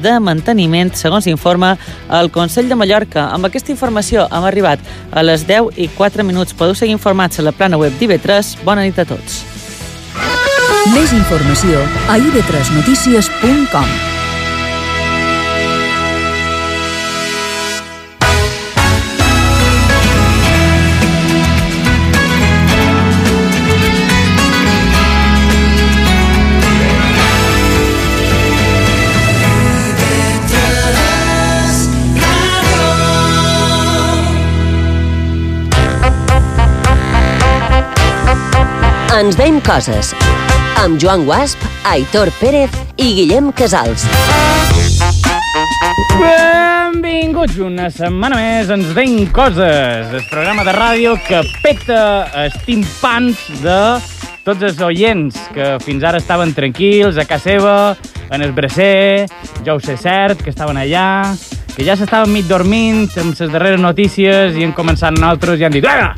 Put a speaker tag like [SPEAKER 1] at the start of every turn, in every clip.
[SPEAKER 1] de manteniment, segons informa el Consell de Mallorca. Amb aquesta informació hem arribat a les 10 i 4 minuts. Podeu seguir informats a la plana web d'IV3. Bona nit a tots.
[SPEAKER 2] Més informació a ib3notícies.com
[SPEAKER 3] Ens veiem coses. Amb Joan Guasp, Aitor Pérez i Guillem Casals.
[SPEAKER 4] Benvinguts una setmana més, ens veiem coses. El programa de ràdio que peta els timpans de tots els oients que fins ara estaven tranquils a casa seva, en el bracer, ja ho sé cert, que estaven allà, que ja s'estaven mig dormint amb les darreres notícies i han començat nosaltres i han dit Vinga,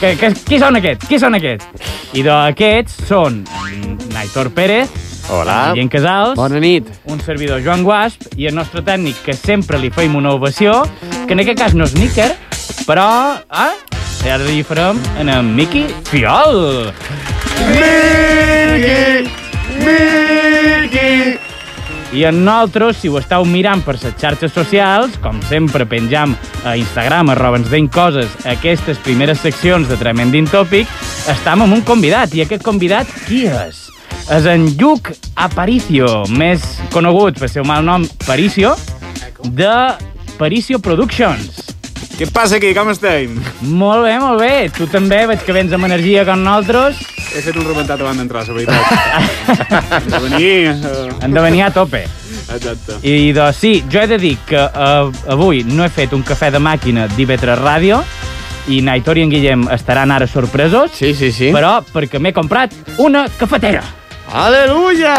[SPEAKER 4] que, que, qui són aquests? Qui són aquests? I d'aquests són en Aitor Pérez,
[SPEAKER 5] Hola.
[SPEAKER 4] en Guillem Casals,
[SPEAKER 5] Bona nit.
[SPEAKER 4] un servidor Joan Guasp i el nostre tècnic que sempre li feim una ovació, que en aquest cas no és Níquer, però eh? ara li farem en el Miqui Fiol. I en nosaltres, si ho esteu mirant per les xarxes socials, com sempre pengem a Instagram, arroba ens deim coses, aquestes primeres seccions de Tremendin Topic, estem amb un convidat. I aquest convidat, qui és? És en Lluc Aparicio, més conegut pel seu mal nom Paricio, de Paricio Productions.
[SPEAKER 5] Què passa aquí? Com estem?
[SPEAKER 4] Molt bé, molt bé. Tu també, veig que vens amb energia com nosaltres.
[SPEAKER 5] He fet un rebentat abans d'entrar, la veritat. de venir... eh,
[SPEAKER 4] Hem de venir a tope.
[SPEAKER 5] Exacte.
[SPEAKER 4] I doncs sí, jo he de dir que uh, avui no he fet un cafè de màquina d'IV3 Ràdio i Naitor i en Guillem estaran ara sorpresos,
[SPEAKER 6] Sí, sí, sí.
[SPEAKER 4] però perquè m'he comprat una cafetera.
[SPEAKER 6] Aleluia!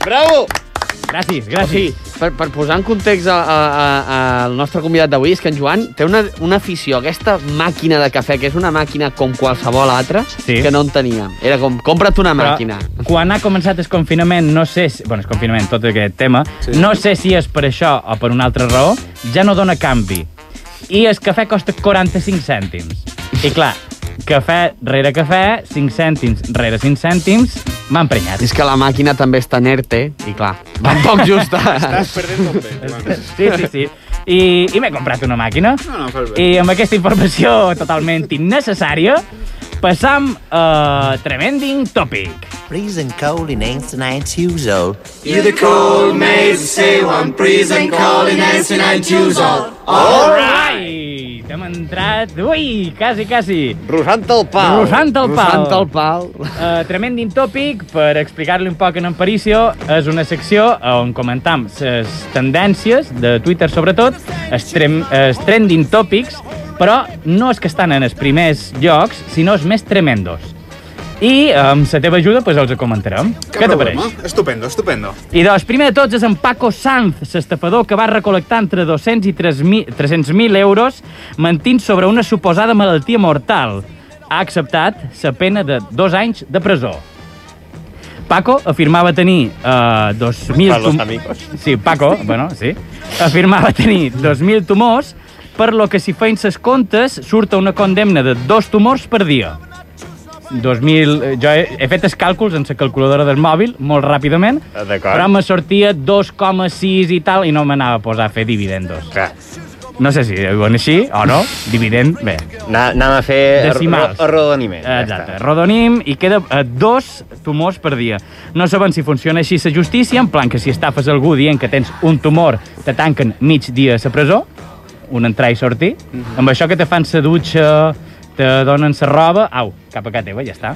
[SPEAKER 6] Bravo!
[SPEAKER 4] Gràcies,
[SPEAKER 6] O sigui,
[SPEAKER 4] gràcies.
[SPEAKER 6] per, per posar en context a- a- a- al nostre convidat d'avui, és que en Joan té una, una afició, aquesta màquina de cafè, que és una màquina com qualsevol altra,
[SPEAKER 4] Sí.
[SPEAKER 6] que no en teníem. Era com, compra't una
[SPEAKER 4] Però
[SPEAKER 6] màquina.
[SPEAKER 4] quan ha començat el confinament, no sé si... Bueno, el confinament, tot aquest tema, sí. no sé si és per això o per una altra raó, ja no dona canvi. I el cafè costa 45 cèntims. I clar, cafè rere cafè, 5 cèntims rere 5 cèntims, m'ha emprenyat.
[SPEAKER 6] És que la màquina també està inerte, i clar, va poc justa.
[SPEAKER 5] Estàs perdent el temps, Joan.
[SPEAKER 4] Sí, sí, sí. I, i m'he comprat una màquina.
[SPEAKER 5] No, no, fas bé.
[SPEAKER 4] I amb aquesta informació totalment innecessària, passam a Tremending Topic.
[SPEAKER 7] Freezing cold in 1892 old.
[SPEAKER 4] Alright! Hem entrat... Ui, quasi, quasi.
[SPEAKER 6] Rosant el pal.
[SPEAKER 4] Rosant el pal.
[SPEAKER 6] Rosant el pal.
[SPEAKER 4] Uh, Tremending Topic, per explicar-li un poc en Aparicio, és una secció on comentam les tendències de Twitter, sobretot, els, trem, els trending topics, però no els que estan en els primers llocs, sinó els més tremendos. I amb la teva ajuda pues, els comentarem. Què t'apareix?
[SPEAKER 5] Estupendo, estupendo.
[SPEAKER 4] I doncs, primer de tots és en Paco Sanz, l'estafador que va recol·lectar entre 200 i 3.000 300.000 euros mentint sobre una suposada malaltia mortal. Ha acceptat la pena de dos anys de presó. Paco afirmava tenir eh, 2.000...
[SPEAKER 5] Para los
[SPEAKER 4] tum-
[SPEAKER 5] amigos.
[SPEAKER 4] Sí, Paco, bueno, sí. Afirmava tenir 2.000 tumors, per lo que si feien ses comptes surta una condemna de dos tumors per dia. 2000, eh, jo he, he fet els càlculs en la calculadora del mòbil, molt ràpidament,
[SPEAKER 5] Ah, d'acord.
[SPEAKER 4] però me sortia 2,6 i tal, i no m'anava a posar a fer dividendos.
[SPEAKER 8] Clar.
[SPEAKER 4] No sé si ho diuen així o no, dividend, bé.
[SPEAKER 8] Ana- Anàvem a fer
[SPEAKER 4] Decimals.
[SPEAKER 8] ro- arrodoniment. ja
[SPEAKER 4] Exacte,
[SPEAKER 8] està.
[SPEAKER 4] rodonim i queda a dos tumors per dia. No saben si funciona així la justícia, en plan que si estafes algú dient que tens un tumor, te tanquen mig dia a la presó, un entrar i sortir,
[SPEAKER 8] Mhm.
[SPEAKER 4] amb això que te fan la dutxa, te donen la roba, au, cap a casa teva, ja està.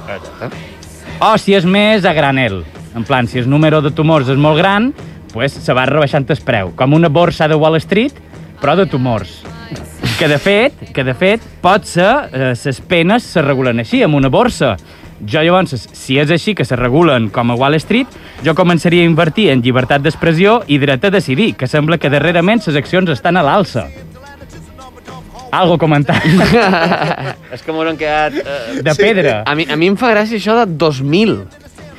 [SPEAKER 4] O si és més a granel, en plan, si el número de tumors és molt gran, pues se va rebaixant el preu, com una borsa de Wall Street, però de tumors. Que de fet, que de fet, pot ser, eh, ses penes se regulen així, amb una borsa. Jo llavors, si és així que se regulen com a Wall Street, jo començaria a invertir en llibertat d'expressió i dret a decidir, que sembla que darrerament ses accions estan a l'alça. Algo a comentar.
[SPEAKER 8] És que m'ho han quedat... Eh,
[SPEAKER 4] De pedra.
[SPEAKER 6] Ah, A mi, a mi em fa gràcia això de 2.000.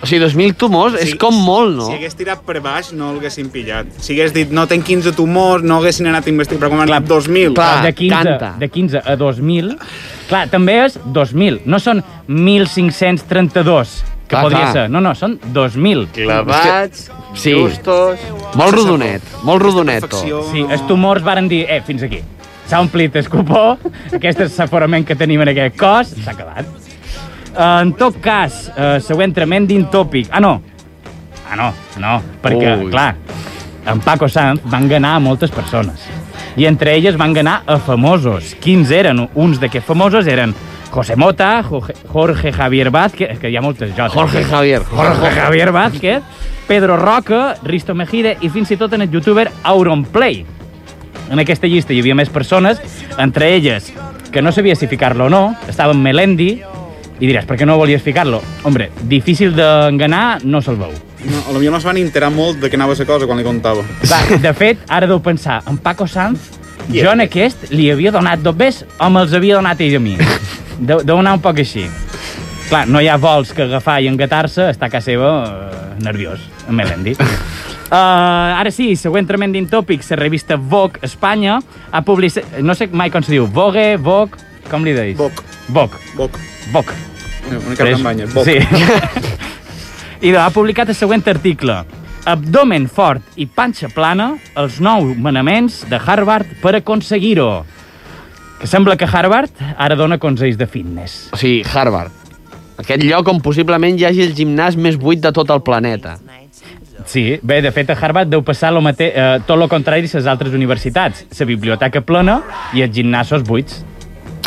[SPEAKER 6] O sigui, 2.000 tumors és com molt, no?
[SPEAKER 5] Si hagués tirat per baix, no l'haguessin pillat. Si hagués dit, no tenc 15 tumors, no haguessin anat a investigar, però com han anat 2.000.
[SPEAKER 6] clar.
[SPEAKER 4] Ah, de 15,
[SPEAKER 6] canta.
[SPEAKER 4] de 15 a 2.000, clar, també és 2.000, no són 1.532, que
[SPEAKER 6] Clar,
[SPEAKER 4] podria
[SPEAKER 6] clar.
[SPEAKER 4] ser. No, no, són 2.000.
[SPEAKER 8] Clavats,
[SPEAKER 6] Sí.
[SPEAKER 8] justos...
[SPEAKER 6] Molt rodonet, molt rodonet. tot.
[SPEAKER 5] Perfecció,
[SPEAKER 4] Sí, els tumors varen dir, eh, fins aquí. S'ha omplit el cupó, aquest desaforament que tenim en aquest cos, s'ha acabat. Eh, en tot cas, eh, següent tremendin tòpic. Ah, no. Ah, no, no, perquè,
[SPEAKER 6] Ui.
[SPEAKER 4] Ui. clar, en Paco Sanz va enganar a moltes persones. I entre elles van enganar a famosos. Quins eren? Uns d'aquests famosos eren José Mota, Jorge- Jorge Javier Vázquez, és que hi ha moltes jotes.
[SPEAKER 6] Jorge Javier.
[SPEAKER 4] Jorge Javier Vázquez, Pedro Roca, Risto Mejide i fins i tot en el youtuber Auronplay. En aquesta llista hi havia més persones, entre elles que no sabia si ficar-lo o no, estava en Melendi, i diràs, per què no volies ficar-lo? Hombre, difícil d'enganar, no se'l veu.
[SPEAKER 5] No, a lo millor no es van enterar molt de què anava la cosa quan li contava.
[SPEAKER 4] Va, de fet, ara deu pensar, en Paco Sanz, jo en aquest li havia donat dos bes o me'ls havia donat ell a mi. Deu, deu anar un poc així. Clar, no hi ha vols que agafar i engatar-se, està a casa seva eh, nerviós, en Melendi. Uh, ara sí, següent tremendin tòpic, la revista Vogue Espanya ha publicat... No sé mai com se diu, Vogue, Vogue... Com li deis?
[SPEAKER 5] Vogue.
[SPEAKER 4] Vogue.
[SPEAKER 5] Boc.
[SPEAKER 4] Vogue.
[SPEAKER 5] Una cara en banya. Boc.
[SPEAKER 4] Sí. I ha publicat el següent article. Abdomen fort i panxa plana, els nou manaments de Harvard per aconseguir-ho. Que sembla que Harvard ara dona consells de fitness.
[SPEAKER 6] O sigui, Harvard. Aquest lloc on possiblement hi hagi el gimnàs més buit de tot el planeta.
[SPEAKER 4] Ah, Sí, bé, de fet, a Harvard deu passar lo mate eh, tot el contrari a les altres universitats. La biblioteca plena i els gimnasos buits.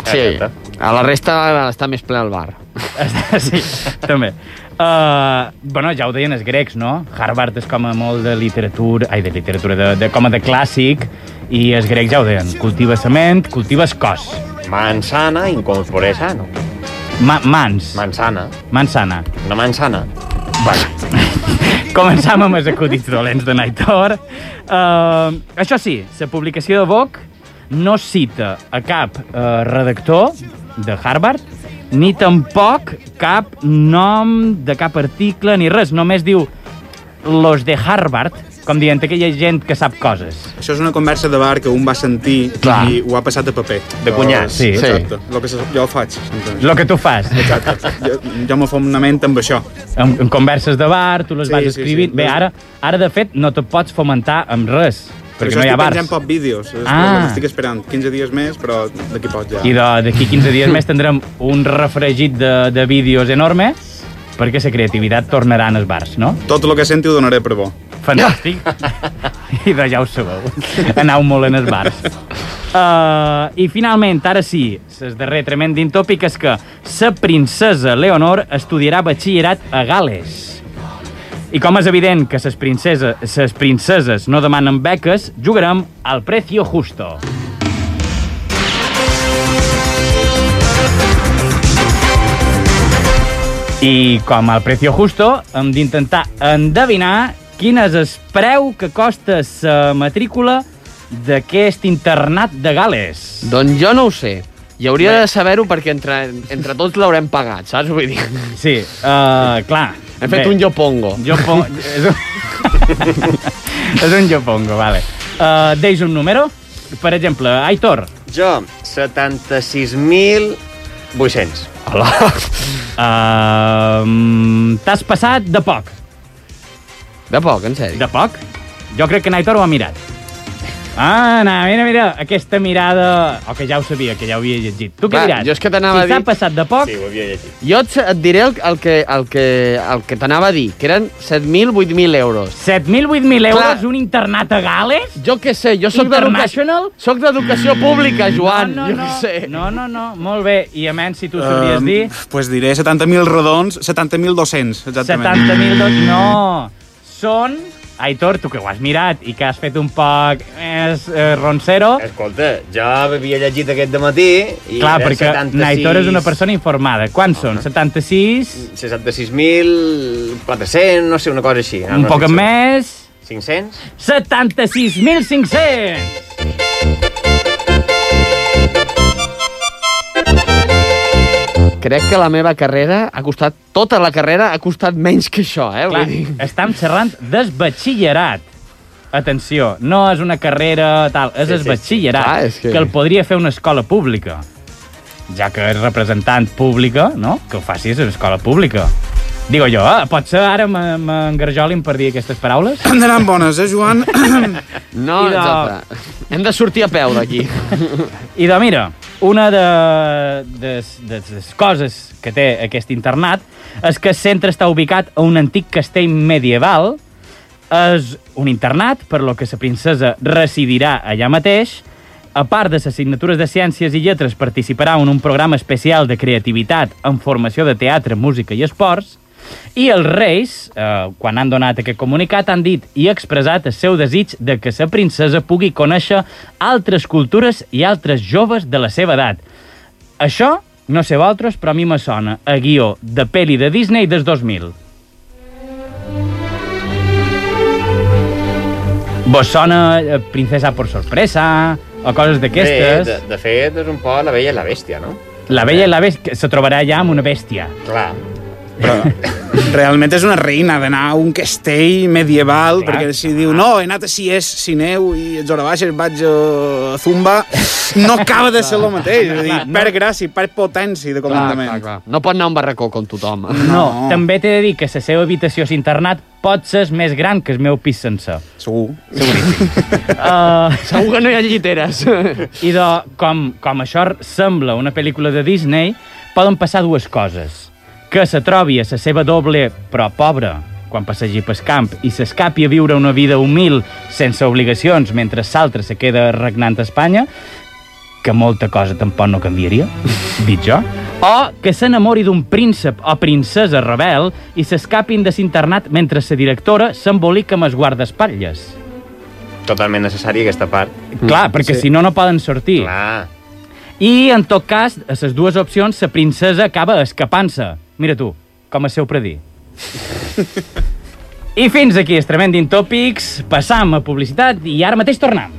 [SPEAKER 6] Sí. A la resta està més ple el bar.
[SPEAKER 4] sí, també. Uh, bueno, ja ho deien els grecs, no? Harvard és com a molt de literatura, ai, de literatura, de, de, com a de clàssic, i els grecs ja ho deien, cultiva cement, cultiva el cos.
[SPEAKER 8] Manzana incorpore sano.
[SPEAKER 4] Ma mans,
[SPEAKER 8] Manzana.
[SPEAKER 4] mans sana.
[SPEAKER 8] Una manzana.
[SPEAKER 4] Començam amb els acudits dolents de Naitor. Uh, això sí, la publicació de Vogue no cita a cap uh, redactor de Harvard, ni tampoc cap nom de cap article ni res. Només diu los de Harvard, com dient que hi ha gent que sap coses.
[SPEAKER 5] Això és una conversa de bar que un va sentir
[SPEAKER 6] Clar.
[SPEAKER 5] i ho ha passat a paper.
[SPEAKER 8] De cunyats.
[SPEAKER 4] Sí.
[SPEAKER 5] Exacte. Sí. Lo que se- jo ho faig. s'entén?
[SPEAKER 4] Lo que tu fas,
[SPEAKER 5] Exacte. Jo, jo me fom una ment amb això.
[SPEAKER 4] en, en converses de bar, tu les
[SPEAKER 5] Sí,
[SPEAKER 4] vas
[SPEAKER 5] sí,
[SPEAKER 4] escrivint...
[SPEAKER 5] sí.
[SPEAKER 4] Bé, ara, ara, de fet, no te pots fomentar amb res, perquè no hi ha
[SPEAKER 5] estic
[SPEAKER 4] bars.
[SPEAKER 5] penjant pop vídeos.
[SPEAKER 4] Ah.
[SPEAKER 5] Ah. Estic esperant 15 dies més, però d'aquí poc ja.
[SPEAKER 4] I de- d'aquí 15 dies més tindrem un refregit de, de vídeos enorme perquè la creativitat tornarà als bars, no?
[SPEAKER 5] Tot el que senti ho donaré per bo.
[SPEAKER 4] Fantàstic. I de ja ho sabeu. Anau molt en els bars. Uh, I finalment, ara sí, el darrer tremendin tòpic és que la princesa Leonor estudiarà batxillerat a Gales. I com és evident que ses princeses, ses princeses no demanen beques, jugarem al precio justo. I com al precio justo, hem d'intentar endevinar quin és el preu que costa la matrícula d'aquest internat de Gales.
[SPEAKER 6] Doncs jo no ho sé. I hauria de saber-ho perquè entre, entre tots l'haurem pagat, saps? Vull dir,
[SPEAKER 4] Sí, uh, clar.
[SPEAKER 6] hem fet
[SPEAKER 4] Bé,
[SPEAKER 6] un jopongo.
[SPEAKER 4] Yopo- és un... és un jopongo, vale. Uh, deix un número. Per exemple, Aitor.
[SPEAKER 8] Jo, 76.800.
[SPEAKER 4] Uh, T'has passat de poc.
[SPEAKER 6] De poc, en sèrio.
[SPEAKER 4] De poc? Jo crec que en Aitor ho ha mirat. Ah, no, mira, mira, aquesta mirada... O que ja ho sabia, que ja ho havia llegit. Tu què
[SPEAKER 6] Clar,
[SPEAKER 4] diràs?
[SPEAKER 6] jo és que t'anava
[SPEAKER 4] si
[SPEAKER 6] a dir-
[SPEAKER 4] s'ha passat de poc...
[SPEAKER 8] Sí, ho havia llegit.
[SPEAKER 6] Jo et, et diré el, el que, el que, el que t'anava a dir, que eren 7.000, 8.000 euros.
[SPEAKER 4] 7.000, 8.000 euros,
[SPEAKER 6] Clar.
[SPEAKER 4] un internat a Gales?
[SPEAKER 6] Jo què sé, jo sóc d'educació...
[SPEAKER 4] International? Ah,
[SPEAKER 6] Soc d'educació pública, Joan,
[SPEAKER 4] no, no,
[SPEAKER 6] Ah, jo
[SPEAKER 4] no.
[SPEAKER 6] què sé.
[SPEAKER 4] No, no, no, molt bé. I a menys, si tu sabries
[SPEAKER 5] Ehm,
[SPEAKER 4] dir...
[SPEAKER 5] pues diré 70.000 rodons, 70.200, exactament.
[SPEAKER 4] 70.000 dos... No! Són... Aitor, tu que ho has mirat i que has fet un poc més eh, roncero...
[SPEAKER 8] Escolta, jo havia llegit aquest dematí i
[SPEAKER 4] Clar,
[SPEAKER 8] era
[SPEAKER 4] perquè 76... Naitor és una persona informada. Quants són? 76?
[SPEAKER 8] 76.400, no sé, una cosa així. No,
[SPEAKER 4] un
[SPEAKER 8] no
[SPEAKER 4] poc
[SPEAKER 8] estic segur.
[SPEAKER 4] més...
[SPEAKER 8] 500?
[SPEAKER 4] 76.500!
[SPEAKER 6] Crec que la meva carrera ha costat... Tota la carrera ha costat menys que això, eh?
[SPEAKER 4] Clar,
[SPEAKER 6] Vull dir...
[SPEAKER 4] estem xerrant desbatxillerat. Atenció, no és una carrera tal, és sí,
[SPEAKER 8] Sí, sí,
[SPEAKER 4] el batxillerat,
[SPEAKER 6] sí. Clar, és
[SPEAKER 4] sí,
[SPEAKER 6] que-
[SPEAKER 4] que... que el podria fer una escola pública. Ja que és representant pública, no? Que ho facis a escola pública. Digo jo, eh? Potser ara me- m'engarjolin per dir aquestes paraules?
[SPEAKER 5] Hem d'anar amb bones, eh, Joan?
[SPEAKER 6] No,
[SPEAKER 4] I de-
[SPEAKER 6] exacte. Hem de sortir a peu d'aquí.
[SPEAKER 4] I de, mira, una de, de, de, de les coses que té aquest internat és que el centre està ubicat a un antic castell medieval. És un internat, per lo que la princesa residirà allà mateix. A part de les assignatures de Ciències i Lletres, participarà en un programa especial de creativitat en formació de teatre, música i esports. I els reis, eh, quan han donat aquest comunicat, han dit i expressat el seu desig de que la princesa pugui conèixer altres cultures i altres joves de la seva edat. Això, no sé vosaltres, però a mi me sona a guió de pel·li de Disney des 2000. Vos sona eh, Princesa por sorpresa o coses
[SPEAKER 8] Bé, de,
[SPEAKER 4] d'aquestes.
[SPEAKER 8] de fet, és un poc la vella i la bèstia, no?
[SPEAKER 4] La vella i la bèstia se trobarà ja amb una bèstia.
[SPEAKER 8] Clar.
[SPEAKER 5] Realment és una reina d'anar a un castell medieval,
[SPEAKER 4] Clar.
[SPEAKER 5] perquè si diu, no, he anat a Sies, Sineu i ets hora baixa, vaig a Zumba, no acaba de ser el mateix. És a dir,
[SPEAKER 4] Clar, no.
[SPEAKER 5] per gràcia, per potència de comandament.
[SPEAKER 6] No pot anar a un barracó com tothom.
[SPEAKER 4] No, també t'he de dir que la seva habitació és internat pot ser més gran que el meu pis sencer.
[SPEAKER 5] Segur.
[SPEAKER 4] Uh,
[SPEAKER 6] Segur que no hi ha lliteres.
[SPEAKER 4] I de, com, com això sembla una pel·lícula de Disney, poden passar dues coses. Que se trobi a la seva doble, però pobra, quan passegi pel camp i s'escapi a viure una vida humil, sense obligacions, mentre l'altre se queda regnant a Espanya, que molta cosa tampoc no canviaria, dit jo, o que s'enamori d'un príncep o princesa rebel i s'escapin de l'internat mentre la directora s'embolica amb els guardaespatlles.
[SPEAKER 8] Totalment necessària aquesta part.
[SPEAKER 4] Clar, perquè sí. si no, no poden sortir.
[SPEAKER 8] Mm, Clar.
[SPEAKER 4] I, en tot cas, a les dues opcions, la princesa acaba escapant-se. Mira tu, com a seu predí. I fins aquí, els Tremending Topics. Passam a publicitat i ara mateix tornem.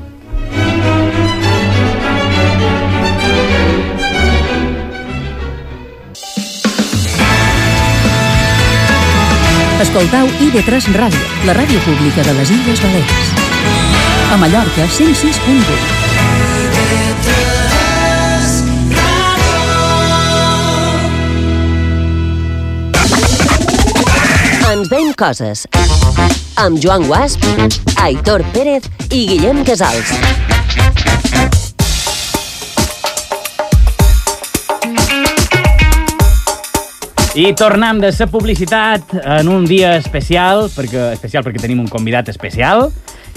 [SPEAKER 2] Escoltau IB3 Ràdio, la ràdio pública de les Illes Balears. A Mallorca, 106.8.
[SPEAKER 3] Ens veiem coses. Amb Joan Guasp, Aitor Pérez i Guillem Casals.
[SPEAKER 4] I tornem de la publicitat en un dia especial, perquè especial perquè tenim un convidat especial,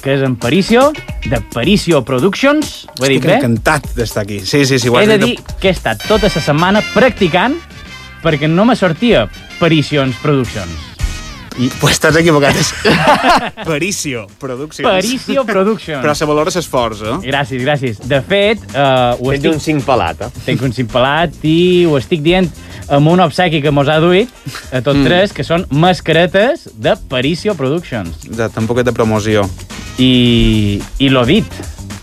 [SPEAKER 4] que és en Paricio, de Paricio Productions. Ho he dit
[SPEAKER 5] Estic
[SPEAKER 4] bé?
[SPEAKER 5] encantat d'estar aquí. Sí, sí, sí. ho
[SPEAKER 4] He
[SPEAKER 5] has
[SPEAKER 4] de
[SPEAKER 5] dit
[SPEAKER 4] dir que he estat tota la setmana practicant perquè no me sortia Paricions Productions.
[SPEAKER 5] I, pues estàs equivocat. És Paricio Productions.
[SPEAKER 4] Paricio Productions.
[SPEAKER 5] Però se valora l'esforç, eh?
[SPEAKER 4] Gràcies, gràcies. De fet, uh, ho
[SPEAKER 8] Tens
[SPEAKER 4] estic,
[SPEAKER 8] un cinc pelat, eh?
[SPEAKER 4] tenc un cimpalat i ho estic dient amb un obsequi que mos ha duit a tots mm. tres, que són mascaretes de Paricio Productions.
[SPEAKER 5] Ja, tampoc de promoció.
[SPEAKER 4] I, i l'ho dit,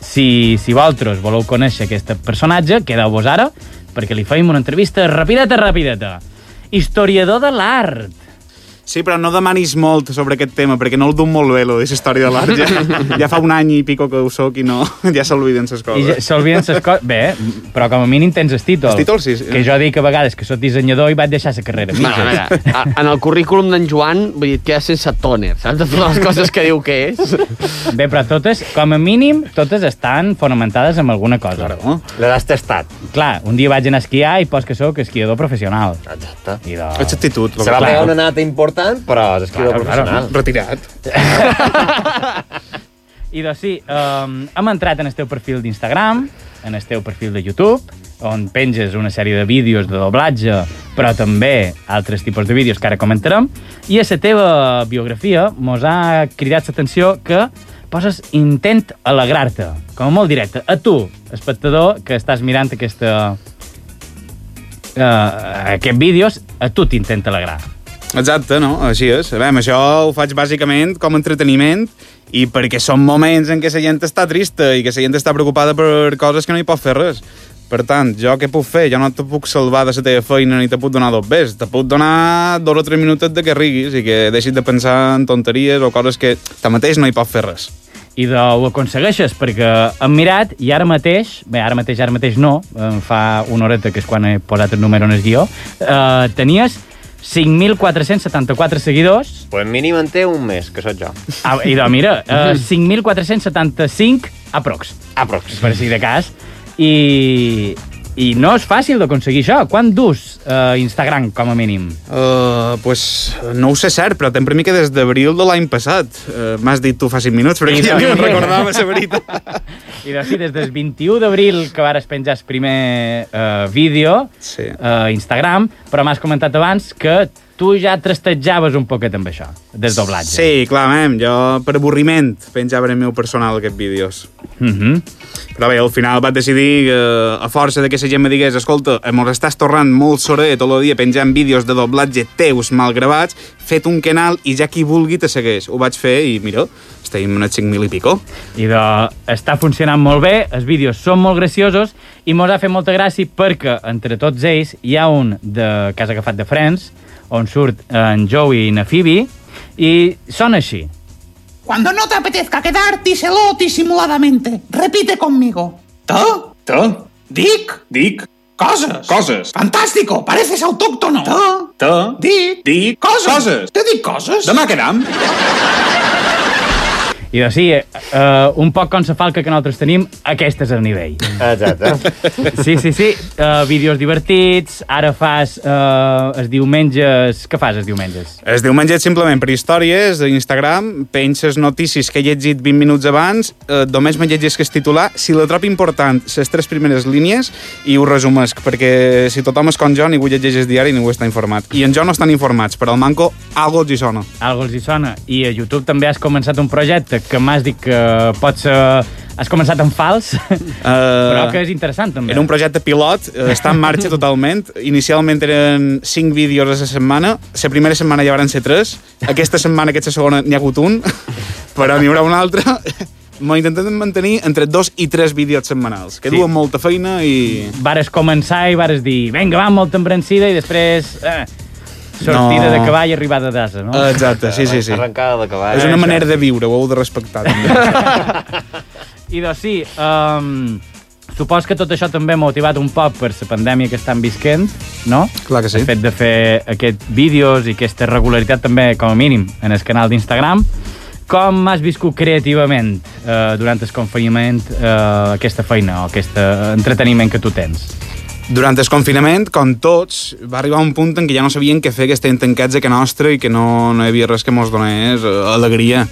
[SPEAKER 4] si, si vosaltres voleu conèixer aquest personatge, quedeu-vos ara, perquè li feim una entrevista rapideta, rapideta. Historiador de l'art.
[SPEAKER 5] Sí, però no demanis molt sobre aquest tema, perquè no el dum molt bé, lo de la història de l'art. Ja, ja fa un any i pico que ho soc i no, ja s'olviden
[SPEAKER 4] I ja-
[SPEAKER 5] les coses.
[SPEAKER 4] s'olviden ses coses... Bé, però com a mínim tens el títol.
[SPEAKER 5] El títol, sí, sí.
[SPEAKER 4] Que jo dic a vegades que sóc dissenyador i vaig deixar la carrera.
[SPEAKER 6] Bueno, a veure, a- en el currículum d'en Joan, vull dir, et queda sense tòner, saps? De totes les coses que diu que és.
[SPEAKER 4] Bé, però totes, com a mínim, totes estan fonamentades en alguna cosa.
[SPEAKER 5] Claro.
[SPEAKER 8] L'has tastat.
[SPEAKER 4] Clar, un dia vaig anar a esquiar i pos que sóc esquiador professional.
[SPEAKER 8] Exacte.
[SPEAKER 4] I doncs- de...
[SPEAKER 5] Ets actitud. lo
[SPEAKER 8] Se va
[SPEAKER 5] que-
[SPEAKER 8] pegar una nata important, però és escriure
[SPEAKER 4] Claro, claro.
[SPEAKER 8] professional.
[SPEAKER 5] Retirat.
[SPEAKER 4] I doncs sí, um, hem entrat en el teu perfil d'Instagram, en el teu perfil de YouTube, on penges una sèrie de vídeos de doblatge, però també altres tipus de vídeos que ara comentarem, i a la teva biografia mos ha cridat l'atenció que poses intent alegrar-te, com a molt directe, a tu, espectador, que estàs mirant aquesta, uh, aquests vídeos, a tu t'intenta alegrar.
[SPEAKER 5] Exacte, no? Així és. A veure, això ho faig bàsicament com a entreteniment i perquè són moments en què la gent està trista i que la gent està preocupada per coses que no hi pot fer res. Per tant, jo què puc fer? Jo no te puc salvar de la teva feina ni te puc donar dos bes. Te puc donar dos o tres minutets de que riguis i que deixis de pensar en tonteries o coses que tanmateix no hi pots fer res.
[SPEAKER 4] i de, ho aconsegueixes, perquè hem mirat i ara mateix, bé, ara mateix, ara mateix no, em fa una horeta, que és quan he posat el número en el guió, eh, tenies 5.474 seguidors,
[SPEAKER 8] Pues mínim en té un mes, que sóc jo.
[SPEAKER 4] ah, i de, mira, eh, 5.475 aprox,
[SPEAKER 8] Aprox.
[SPEAKER 4] per si de cas, i, i no és fàcil d'aconseguir això. Quan dus eh, Instagram, com a mínim?
[SPEAKER 5] Uh, pues, no ho sé cert, però tem per mi que des d'abril de l'any passat. Uh, M'has dit tu fa 5 minuts, però
[SPEAKER 4] I
[SPEAKER 5] que ja
[SPEAKER 4] tant.
[SPEAKER 5] ni me'n recordava, la veritat.
[SPEAKER 4] I de, sí, des del 21 d'abril que vares penjar el primer eh, vídeo
[SPEAKER 5] Sí.
[SPEAKER 4] eh, Instagram, però m'has comentat abans que tu ja trastatjaves un poquet amb això, des doblatge.
[SPEAKER 5] Sí, clar, mem, jo per avorriment penjava en el meu personal aquests vídeos.
[SPEAKER 4] Mhm.
[SPEAKER 5] Però bé, al final vaig decidir, eh, a força de que la gent me digués escolta, eh, mos estàs tornant molt sorer tot el dia penjant vídeos de doblatge teus mal gravats, fet un canal i ja qui vulgui te segueix. Ho vaig fer i mira, estem en els 5.000 i pico.
[SPEAKER 4] I de, està funcionant molt bé, els vídeos són molt graciosos i mos ha fet molta gràcia perquè entre tots ells hi ha un de Casa Agafat de Friends on surt en Joey i na Phoebe i són així.
[SPEAKER 9] Cuando no te apetezca quedar, díselo disimuladamente. Repite conmigo. ¿Tú?
[SPEAKER 10] ¿Tú?
[SPEAKER 9] Dick.
[SPEAKER 10] Dick.
[SPEAKER 9] Cosas.
[SPEAKER 10] Cosas.
[SPEAKER 9] Fantástico, pareces autóctono. ¿Tú?
[SPEAKER 10] ¿Tú?
[SPEAKER 9] Dick.
[SPEAKER 10] Dick.
[SPEAKER 9] Cosas.
[SPEAKER 10] Cosas.
[SPEAKER 9] Te dic cosas.
[SPEAKER 10] Demà quedam.
[SPEAKER 4] I de, sí, eh, un poc com se falca que nosaltres tenim, aquest és el nivell.
[SPEAKER 8] Exacte.
[SPEAKER 4] Sí, sí, sí. Uh, vídeos divertits, ara fas uh, els diumenges... Què fas els diumenges?
[SPEAKER 5] Es diumenge simplement per històries d'Instagram, penses notícies que he llegit 20 minuts abans, eh, només me llegeix que és titular, si la trobo important, les tres primeres línies, i ho resumesc, perquè si tothom és com jo, ningú llegeix el diari i ningú està informat. I en jo no estan informats, però al manco algo els hi sona.
[SPEAKER 4] Algo els hi sona. I a YouTube també has començat un projecte que m'has dit que pot ser... Has començat en fals,
[SPEAKER 5] Eh,
[SPEAKER 4] però que és interessant també.
[SPEAKER 5] Era un projecte pilot, eh, està en marxa totalment. Inicialment eren 5 vídeos a la setmana. La primera setmana ja van ser 3. Aquesta setmana, aquesta segona, n'hi ha hagut un, però n'hi haurà un altre. M'ho intentem mantenir entre 2 i 3 vídeos setmanals, que
[SPEAKER 4] Sí.
[SPEAKER 5] sí. duen molta feina i...
[SPEAKER 4] Vares començar i vares dir, vinga, va, molta embrancida, i després... Eh, sortida
[SPEAKER 5] No. Eh.
[SPEAKER 4] de cavall i arribada d'asa, no? eh, Uh,
[SPEAKER 5] Exacte, sí, sí, sí.
[SPEAKER 8] Arrencada de cavall.
[SPEAKER 5] És una manera de viure, ho heu de respectar. També.
[SPEAKER 4] I doncs sí, um, supos que tot això també ha motivat un poc per la pandèmia que estan visquent, no?
[SPEAKER 5] Clar que sí.
[SPEAKER 4] El Doncs fet de fer aquests vídeos i aquesta regularitat també, com a mínim, en el canal d'Instagram. Com has viscut creativament eh, durant el confinament eh, aquesta feina o aquest eh, entreteniment que tu tens?
[SPEAKER 5] Durant el confinament, com tots, va arribar un punt en què ja no sabien què fer, que estàvem tancats a casa nostra i que no, no hi havia res que mos donés eh, alegria.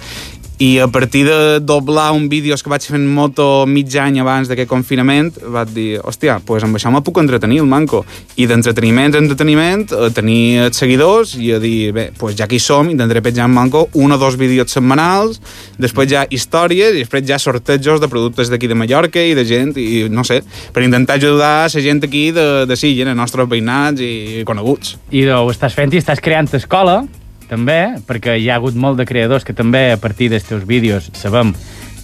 [SPEAKER 5] I a partir de doblar un vídeo que vaig fent moto mig any abans d'aquest confinament, vaig dir, hòstia, doncs pues amb això me puc entretenir, el manco. I d'entreteniment a entreteniment, a tenir els seguidors i a dir, bé, doncs pues ja que hi som, intentaré penjar en manco un o dos vídeos setmanals, després ja històries i després ja sortejos de productes d'aquí de Mallorca i de gent, i no sé, per intentar ajudar la gent aquí de, de Sillent, els nostres veïnats i coneguts.
[SPEAKER 4] I ho estàs fent i estàs creant escola, també, perquè hi ha hagut molt de creadors que també a partir dels teus vídeos sabem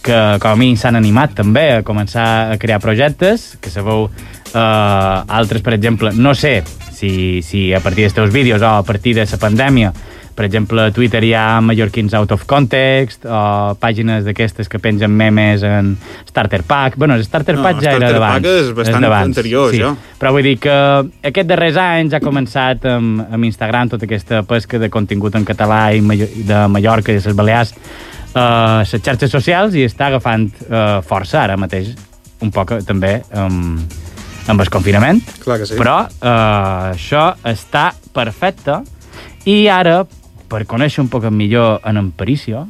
[SPEAKER 4] que com a mi s'han animat també a començar a crear projectes, que sabeu eh, altres, per exemple, no sé si, si a partir dels teus vídeos o a partir de la pandèmia, per exemple, a Twitter hi ha mallorquins out of context o pàgines d'aquestes que pengen memes en Starter Pack. Bueno, el Starter
[SPEAKER 5] No,
[SPEAKER 4] Pack ja era
[SPEAKER 5] Starter Pack
[SPEAKER 4] d'abans.
[SPEAKER 5] és bastant
[SPEAKER 4] d'abans,
[SPEAKER 5] anterior,
[SPEAKER 4] sí.
[SPEAKER 5] això.
[SPEAKER 4] Però vull dir que aquests darrers anys ha començat amb, amb Instagram tota aquesta pesca de contingut en català i Mallo- i de Mallorca i de les Balears a les xarxes socials i està agafant eh, força ara mateix, un poc eh, també amb, amb el confinament.
[SPEAKER 5] Clar que sí.
[SPEAKER 4] Però eh, això està perfecte i ara, per conèixer un poc millor en Emparicio,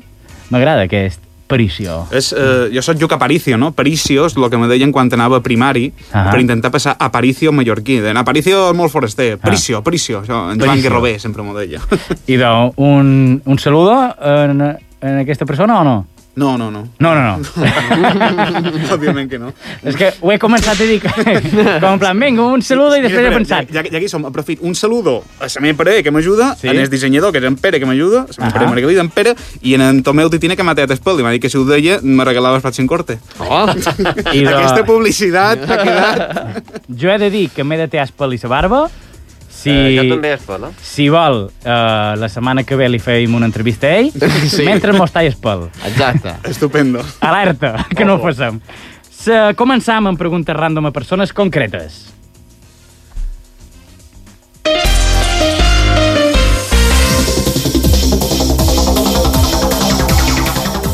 [SPEAKER 4] m'agrada aquest Paricio.
[SPEAKER 5] És, eh, jo soc Lluc Aparicio, no? Paricio és el que me deien quan anava a primari
[SPEAKER 4] Ah.
[SPEAKER 5] per intentar passar Aparicio mallorquí. Deien, Aparicio és molt foraster, Paricio, Paricio. Això, en Joan
[SPEAKER 4] Paricio.
[SPEAKER 5] Guerrobé sempre m'ho deia.
[SPEAKER 4] I doncs, un, un saludo en, en aquesta persona o no?
[SPEAKER 5] No, no, no.
[SPEAKER 4] No, no, no.
[SPEAKER 5] Òbviament que no.
[SPEAKER 4] És que ho he començat a dir que, com en plan, vinga, un saludo i després he
[SPEAKER 5] Mira,
[SPEAKER 4] pensat.
[SPEAKER 5] Ja, ja, ja aquí som, aprofit. Un saludo a la meva parella, que m'ajuda,
[SPEAKER 4] Sí.
[SPEAKER 5] sí? en el dissenyador, que és en Pere, que m'ajuda, a la meva
[SPEAKER 4] Ahà.
[SPEAKER 5] parella Margalida, en Pere, i en en Tomeu Titina, que m'ha tallat el pèl. I m'ha dit que si ho deia, me regalava el patxin corte.
[SPEAKER 6] Oh,
[SPEAKER 4] I de,
[SPEAKER 5] Aquesta publicitat ha quedat...
[SPEAKER 4] jo he de dir que m'he de tear espel i la barba. Si,
[SPEAKER 8] Eh, jo també es pola.
[SPEAKER 4] si vol, eh, la setmana que ve li feim una entrevista a ell,
[SPEAKER 6] Sí.
[SPEAKER 4] sí. mentre mos talla espel.
[SPEAKER 6] exacte.
[SPEAKER 5] Estupendo.
[SPEAKER 4] Alerta, que no ho passem. Se, començam amb preguntes random a persones concretes.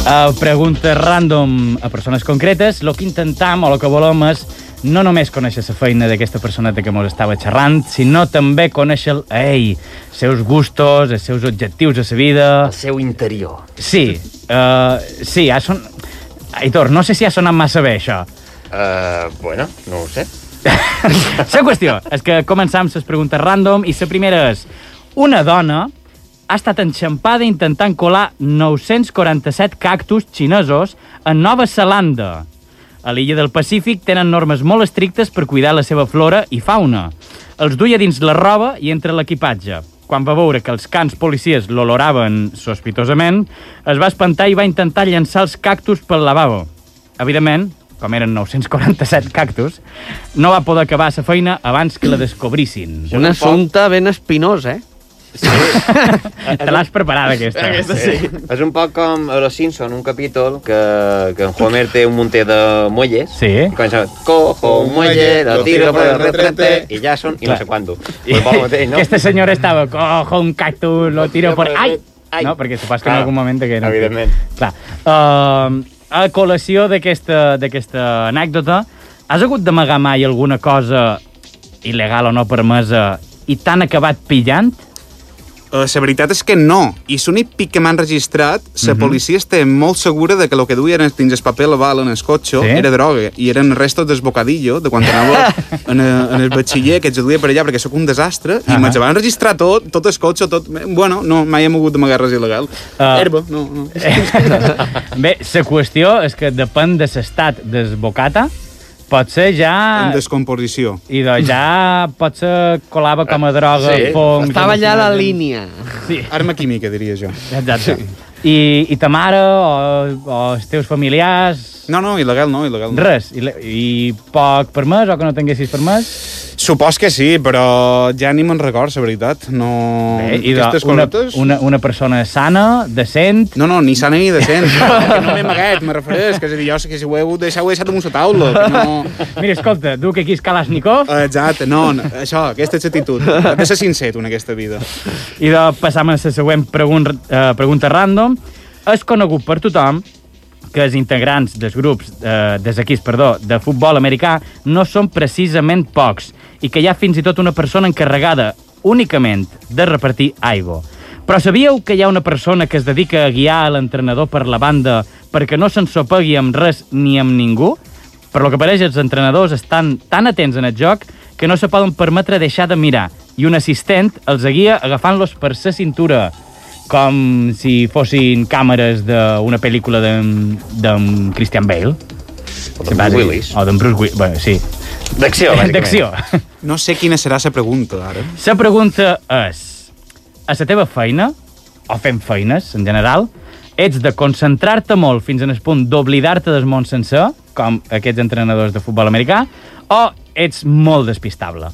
[SPEAKER 4] A preguntes random a persones concretes, lo que intentam o lo que volem és no només conèixer la feina d'aquesta personeta que mos estava xerrant, sinó també conèixer a ell, els seus gustos, els seus objectius a la vida...
[SPEAKER 8] El seu interior.
[SPEAKER 4] Sí, uh, sí, ha son... Aitor, no sé si ha sonat massa bé, això.
[SPEAKER 8] Eh, bueno, no ho sé.
[SPEAKER 4] La qüestió és que començam les preguntes random i la primera és... Una dona ha estat enxampada intentant colar 947 cactus xinesos a Nova Zelanda. A l'illa del Pacífic tenen normes molt estrictes per cuidar la seva flora i fauna. Els duia dins la roba i entre l'equipatge. Quan va veure que els cans policies l'oloraven sospitosament, es va espantar i va intentar llançar els cactus pel lavabo. Evidentment, com eren 947 cactus, no va poder acabar la feina abans que la descobrissin.
[SPEAKER 6] Un assumpte ben espinós, eh?
[SPEAKER 4] Te l'has preparada, aquesta.
[SPEAKER 8] Sí. Eh, És un poc com a Los Simpson, un capítol que, que en Homer té un munter de muelles.
[SPEAKER 4] Sí.
[SPEAKER 8] I comença, cojo un muelle, lo tiro por el retrete, i ja són, i no
[SPEAKER 4] Clar.
[SPEAKER 8] sé quanto. Pues va el mateix, no?
[SPEAKER 4] Aquesta senyora estava, cojo un cactus, lo tiro por... Ai! Ai. No, perquè supas que en
[SPEAKER 8] Clar,
[SPEAKER 4] algun moment... Que no.
[SPEAKER 8] evidentment.
[SPEAKER 4] Clar. Uh, a col·lació d'aquesta d'aquesta anècdota, has hagut d'amagar mai alguna cosa il·legal o no permesa i t'han acabat pillant?
[SPEAKER 5] Uh, la veritat és que no. I l'únic pic que m'han registrat,
[SPEAKER 4] Mhm.
[SPEAKER 5] la policia està molt segura de que el que duien dins el paper laval en el cotxe
[SPEAKER 4] Sí?
[SPEAKER 5] sí? era droga i eren restos del bocadillo de quan anava en, eh, en el batxiller que ets duia per allà perquè sóc un desastre i
[SPEAKER 4] Ahà.
[SPEAKER 5] me'ls van registrar tot, tot el cotxe, tot... Bueno, no, mai hem hagut d'amagar res il·legal.
[SPEAKER 4] Ah.
[SPEAKER 5] Uh, Herba, no, no.
[SPEAKER 4] Bé, la qüestió és que depèn de l'estat desbocata, pot ser ja...
[SPEAKER 5] En descomposició.
[SPEAKER 4] I doncs ja pot ser colava com a droga, sí. fongs...
[SPEAKER 6] Estava allà a la línia.
[SPEAKER 4] Sí,
[SPEAKER 5] Arma química, diria jo.
[SPEAKER 4] exacte. I, I ta mare o, o els teus familiars...
[SPEAKER 5] No, no, il·legal no, il·legal no.
[SPEAKER 4] Res. I, le- I poc permès o que no tinguessis permès?
[SPEAKER 5] Supos que sí, però ja ni me'n record, la veritat. No...
[SPEAKER 4] Bé, Eh, I de,
[SPEAKER 5] Mm. Aquestes
[SPEAKER 4] una,
[SPEAKER 5] cosetes-
[SPEAKER 4] una, una persona sana, decent...
[SPEAKER 5] No, no, ni sana ni decent. que no m'he amagat, me refereix. Que és a dir, jo sé que si ho he hagut de deixar, ho he deixat damunt la taula. Que no...
[SPEAKER 4] Mira, escolta, duc aquí el Kalashnikov
[SPEAKER 5] Exacte, no, no, això, aquesta és l'actitud. Has de ser sincer, tu, en aquesta vida.
[SPEAKER 4] I de passar a la següent pregun eh, pregunta random. És conegut per tothom que els integrants dels grups, eh, dels equips, perdó, de futbol americà no són precisament pocs i que hi ha fins i tot una persona encarregada únicament de repartir aigua. Però sabíeu que hi ha una persona que es dedica a guiar l'entrenador per la banda perquè no s'ensopegui amb res ni amb ningú? Per lo que pareix, els entrenadors estan tan atents en el joc que no se poden permetre deixar de mirar i un assistent els guia agafant-los per sa cintura com si fossin càmeres d'una pel·lícula d'en d'en Christian Bale.
[SPEAKER 8] O de Bruce Willis.
[SPEAKER 4] O d'en Bruce Willis, bueno, sí.
[SPEAKER 8] D'acció, bàsicament.
[SPEAKER 4] D'acció.
[SPEAKER 5] No sé quina serà la pregunta, ara.
[SPEAKER 4] La pregunta és, a la teva feina, o fent feines en general, ets de concentrar-te molt fins en el punt d'oblidar-te del món sencer, com aquests entrenadors de futbol americà, o ets molt despistable?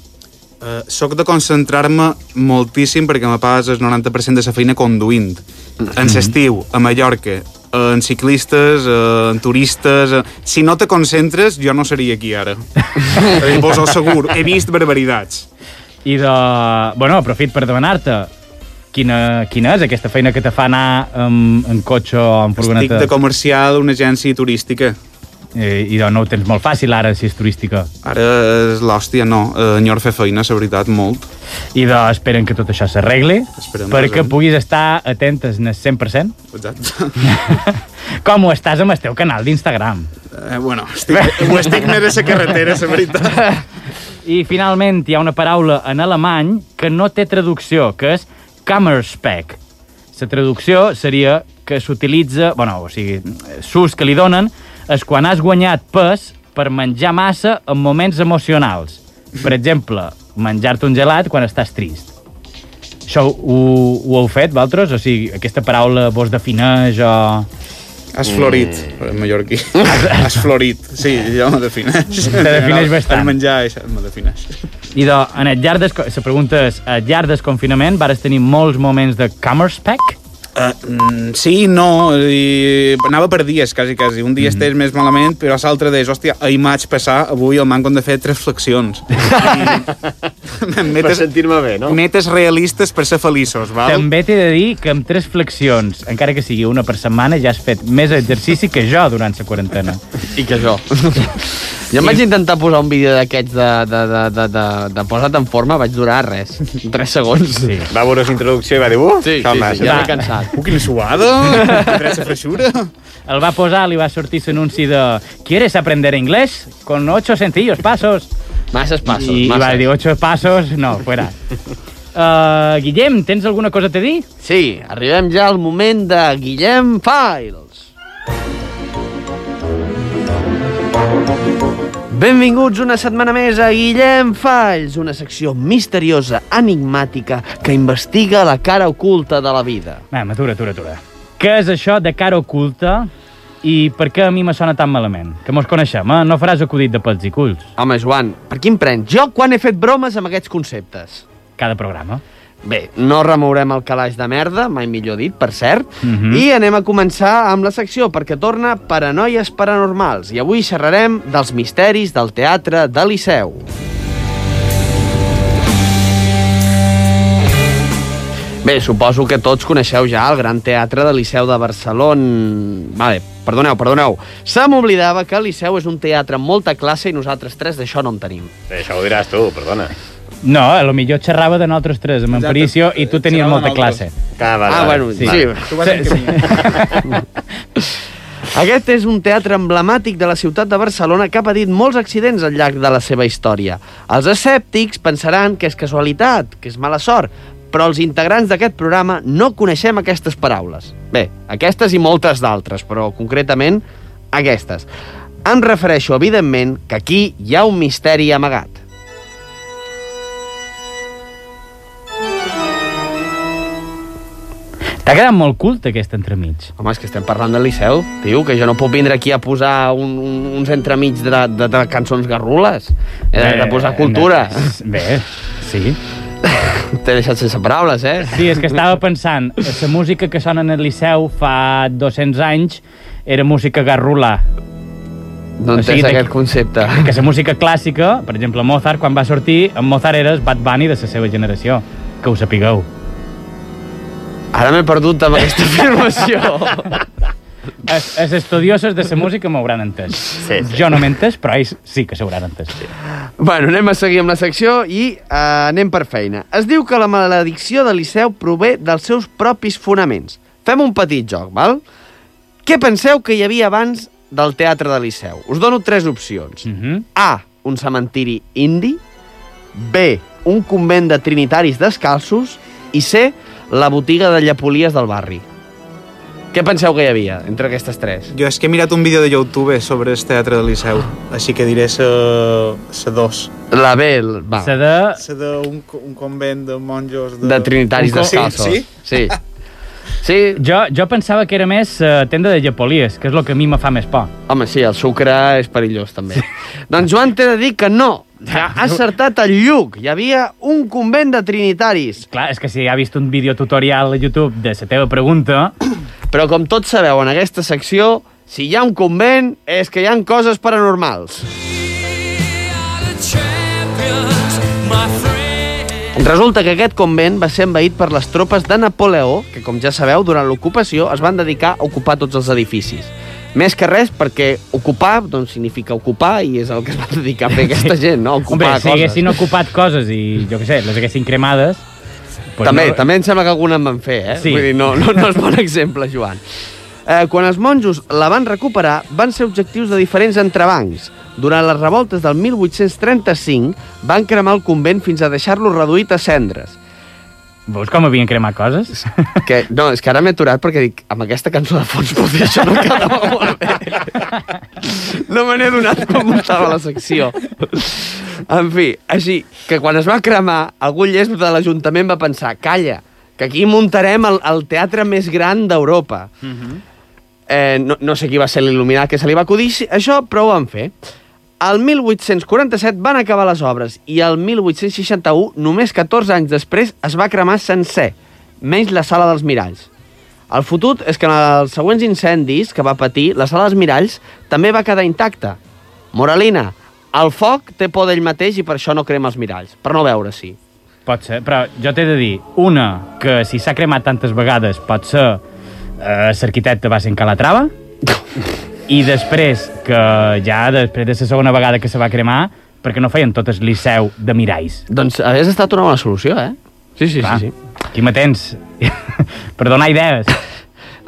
[SPEAKER 5] Uh, soc de concentrar-me moltíssim perquè me pas el 90% de la feina conduint. En l'estiu, a Mallorca, eh, en ciclistes, eh, en turistes... eh, Si no te concentres, jo no seria aquí ara. Eh, Vos ho asseguro, he vist barbaritats.
[SPEAKER 4] I de... Bueno, aprofit per demanar-te quina, quina és aquesta feina que te fa anar en, en cotxe o en
[SPEAKER 5] Estic
[SPEAKER 4] furgoneta.
[SPEAKER 5] de comercial d'una agència turística.
[SPEAKER 4] Eh, I de, no ho tens molt fàcil ara, si és turística.
[SPEAKER 5] Ara és l'hòstia, no. Eh, Enyor fer feina, la veritat, molt.
[SPEAKER 4] I de, esperen que tot això s'arregli
[SPEAKER 5] Esperem,
[SPEAKER 4] perquè
[SPEAKER 5] esperem.
[SPEAKER 4] puguis estar atentes al 100%.
[SPEAKER 5] Exacte.
[SPEAKER 4] Com ho estàs amb el teu canal d'Instagram.
[SPEAKER 5] Eh, bueno, estic, ho estic més a la carretera, la
[SPEAKER 4] Mm.
[SPEAKER 5] veritat.
[SPEAKER 4] I finalment hi ha una paraula en alemany que no té traducció, que és Kammerspec. La traducció seria que s'utilitza, bueno, o sigui, s'ús que li donen, és quan has guanyat pes per menjar massa en moments emocionals. Per exemple, menjar-te un gelat quan estàs trist. Això ho, ho heu fet, vosaltres? O sigui, aquesta paraula vos defineix o...
[SPEAKER 5] Has florit, mm. mallorquí. Has, has florit. Sí, jo me defineix.
[SPEAKER 4] Te defineix bastant.
[SPEAKER 5] El menjar, això, me defineix.
[SPEAKER 4] I de, en el llarg des, la pregunta és, al llarg del confinament vares tenir molts moments de Camerspec?
[SPEAKER 5] Uh, mm, sí, no, i anava per dies, quasi, quasi. Un
[SPEAKER 4] Mm-hmm.
[SPEAKER 5] dia mm. estàs més malament, però a l'altre deies, hòstia, ahir m'haig passar, avui el manco hem de fer tres flexions. I...
[SPEAKER 8] Per sentir-me bé, no?
[SPEAKER 5] metes realistes per ser feliços, val?
[SPEAKER 4] També t'he de dir que amb tres flexions, encara que sigui una per setmana, ja has fet més exercici que jo durant la quarantena.
[SPEAKER 6] I que jo. Jo em vaig intentar posar un vídeo d'aquests de, de, de, de, de, de posa't en forma, vaig durar res. 3 segons. Sí,
[SPEAKER 8] Va veure la introducció i va dir, uh,
[SPEAKER 6] sí, sí,
[SPEAKER 8] calma,
[SPEAKER 6] sí, ja m'he cansat.
[SPEAKER 5] Uh, quina suada! Teresa Freixura!
[SPEAKER 4] El va posar, li va sortir l'anunci de ¿Quieres aprender inglés? Con ocho sencillos pasos.
[SPEAKER 6] Masses passos,
[SPEAKER 4] I, i
[SPEAKER 6] masses.
[SPEAKER 4] va dir, ocho pasos, no, fuera. Uh, Guillem, tens alguna cosa a te dir?
[SPEAKER 6] Sí, arribem ja al moment de Guillem Files. Benvinguts una setmana més a Guillem Falls, una secció misteriosa, enigmàtica, que investiga la cara oculta de la vida.
[SPEAKER 4] Va, atura, atura, atura. Què és això de cara oculta i per què a mi me sona tan malament? Que mos coneixem, eh? No faràs acudit de pels i culls.
[SPEAKER 6] Home, Joan, per quin prens? Jo quan he fet bromes amb aquests conceptes?
[SPEAKER 4] Cada programa.
[SPEAKER 6] Bé, no remourem el calaix de merda, mai millor dit, per cert,
[SPEAKER 8] Mhm.
[SPEAKER 6] i anem a començar amb la secció, perquè torna Paranoies Paranormals, i avui xerrarem dels misteris del teatre de Liceu. Bé, suposo que tots coneixeu ja el Gran Teatre de Liceu de Barcelona... Vale, perdoneu, perdoneu. Se m'oblidava que el Liceu és un teatre amb molta classe i nosaltres tres d'això no en tenim.
[SPEAKER 8] Eh, Això ho diràs tu, perdona.
[SPEAKER 4] No, a lo millor xerrava de nosaltres tres, amb en
[SPEAKER 5] Exacte. Eh,
[SPEAKER 4] Paricio, i tu tenies
[SPEAKER 5] Xerrava
[SPEAKER 4] molta
[SPEAKER 5] de
[SPEAKER 4] classe.
[SPEAKER 5] nosaltres.
[SPEAKER 8] Ah, vale,
[SPEAKER 6] Ah,
[SPEAKER 8] vale.
[SPEAKER 6] bueno, sí. sí.
[SPEAKER 5] Tu vas encaminar.
[SPEAKER 6] Aquest és un teatre emblemàtic de la ciutat de Barcelona que ha patit molts accidents al llarg de la seva història. Els escèptics pensaran que és casualitat, que és mala sort, però els integrants d'aquest programa no coneixem aquestes paraules. Bé, aquestes i moltes d'altres, però concretament aquestes. Em refereixo, evidentment, que aquí hi ha un misteri amagat.
[SPEAKER 4] T'ha quedat molt culte, aquesta, entremig.
[SPEAKER 6] Home, és que estem parlant del Liceu, tio, que jo no puc vindre aquí a posar un, un, uns entremig de, de, de cançons garrules. He de, de posar
[SPEAKER 4] Eh,
[SPEAKER 6] cultura.
[SPEAKER 4] no, Bé, sí.
[SPEAKER 6] T'he deixat sense paraules, eh?
[SPEAKER 4] Sí, és que estava pensant, la música que sona en el Liceu fa 200 anys era música garrula.
[SPEAKER 6] No
[SPEAKER 4] O
[SPEAKER 6] entens
[SPEAKER 4] sigui,
[SPEAKER 6] sigui,
[SPEAKER 4] d'aquí-
[SPEAKER 6] aquest concepte.
[SPEAKER 4] Que la música clàssica, per exemple, Mozart, quan va sortir, en Mozart era el Bad Bunny de la seva generació. Que ho sapigueu.
[SPEAKER 6] Ara m'he perdut amb aquesta afirmació.
[SPEAKER 4] Els els estudiosos de la música m'hauran entès.
[SPEAKER 8] Sí, sí.
[SPEAKER 4] Jo no m'he entès, però ells sí que s'hauran entès.
[SPEAKER 6] bueno, anem a seguir amb la secció i uh, anem per feina. Es diu que la maledicció de Liceu prové dels seus propis fonaments. Fem un petit joc, val? Què penseu que hi havia abans del teatre de Liceu? Us dono tres opcions. Mm
[SPEAKER 4] Mhm.
[SPEAKER 6] A, un cementiri indi. B, un convent de trinitaris descalços. I C, la botiga de llapolies del barri. Què penseu que hi havia entre aquestes tres?
[SPEAKER 5] Jo és que he mirat un vídeo de YouTube sobre el teatre del Liceu, així que diré sa, sa dos.
[SPEAKER 6] La B, el- va.
[SPEAKER 4] La de...
[SPEAKER 5] Sa de un, co- un convent de monjos... De,
[SPEAKER 6] de trinitaris
[SPEAKER 5] Un co-
[SPEAKER 6] descalços.
[SPEAKER 5] Sí,
[SPEAKER 6] Sí. Sí,
[SPEAKER 4] Jo, jo pensava que era més eh, tenda de Japolies, que és el que a mi me fa més por.
[SPEAKER 6] home, sí, el sucre és perillós, també. doncs Joan t'he de dir que no. Ja ha acertat el lluc. Hi havia un convent de trinitaris.
[SPEAKER 4] Clar, és que si ha vist un vídeo tutorial a YouTube de la teva pregunta,
[SPEAKER 6] Però com tots sabeu, en aquesta secció, si hi ha un convent, és que hi han coses paranormals. Resulta que aquest convent va ser envaït per les tropes de Napoleó, que, com ja sabeu, durant l'ocupació es van dedicar a ocupar tots els edificis. Més que res perquè ocupar doncs, significa ocupar i és el que es va dedicar a fer aquesta gent, no? Ocupar
[SPEAKER 4] Hombre, si
[SPEAKER 6] coses.
[SPEAKER 4] haguessin ocupat coses i, jo què sé, les haguessin cremades...
[SPEAKER 6] Pues també, no... eh, també em sembla que alguna en van fer, eh?
[SPEAKER 4] Sí.
[SPEAKER 6] Vull dir, no, no, no és bon exemple, Joan. Eh, quan els monjos la van recuperar, van ser objectius de diferents entrebancs. Durant les revoltes del 1835, van cremar el convent fins a deixar-lo reduït a cendres.
[SPEAKER 4] Veus com havien cremat coses?
[SPEAKER 6] Que, no, és que ara m'he aturat perquè dic, amb aquesta cançó de fons pot dir això no quedava molt bé. No me n'he donat com estava la secció. En fi, així, que quan es va cremar, algun llest de l'Ajuntament va pensar, calla, que aquí muntarem el, el teatre més gran d'Europa. Eh, no, no sé qui va ser l'il·luminat que se li va acudir si- això, però ho van fer. El 1847 van acabar les obres i el 1861, només 14 anys després, es va cremar sencer, menys la sala dels miralls. El fotut és que en els següents incendis que va patir, la sala dels miralls també va quedar intacta. Moralina, el foc té por d'ell mateix i per això no crema els miralls, per no veure-s'hi.
[SPEAKER 4] Pot ser, però jo t'he de dir, una, que si s'ha cremat tantes vegades pot ser eh, l'arquitecte va ser en Calatrava, i després, que ja després de la segona vegada que se va cremar, perquè no feien totes liceu de miralls.
[SPEAKER 6] Doncs hagués estat una bona solució, eh? Sí, sí,
[SPEAKER 4] Clar,
[SPEAKER 6] sí, sí.
[SPEAKER 4] Aquí m'atens. per donar idees.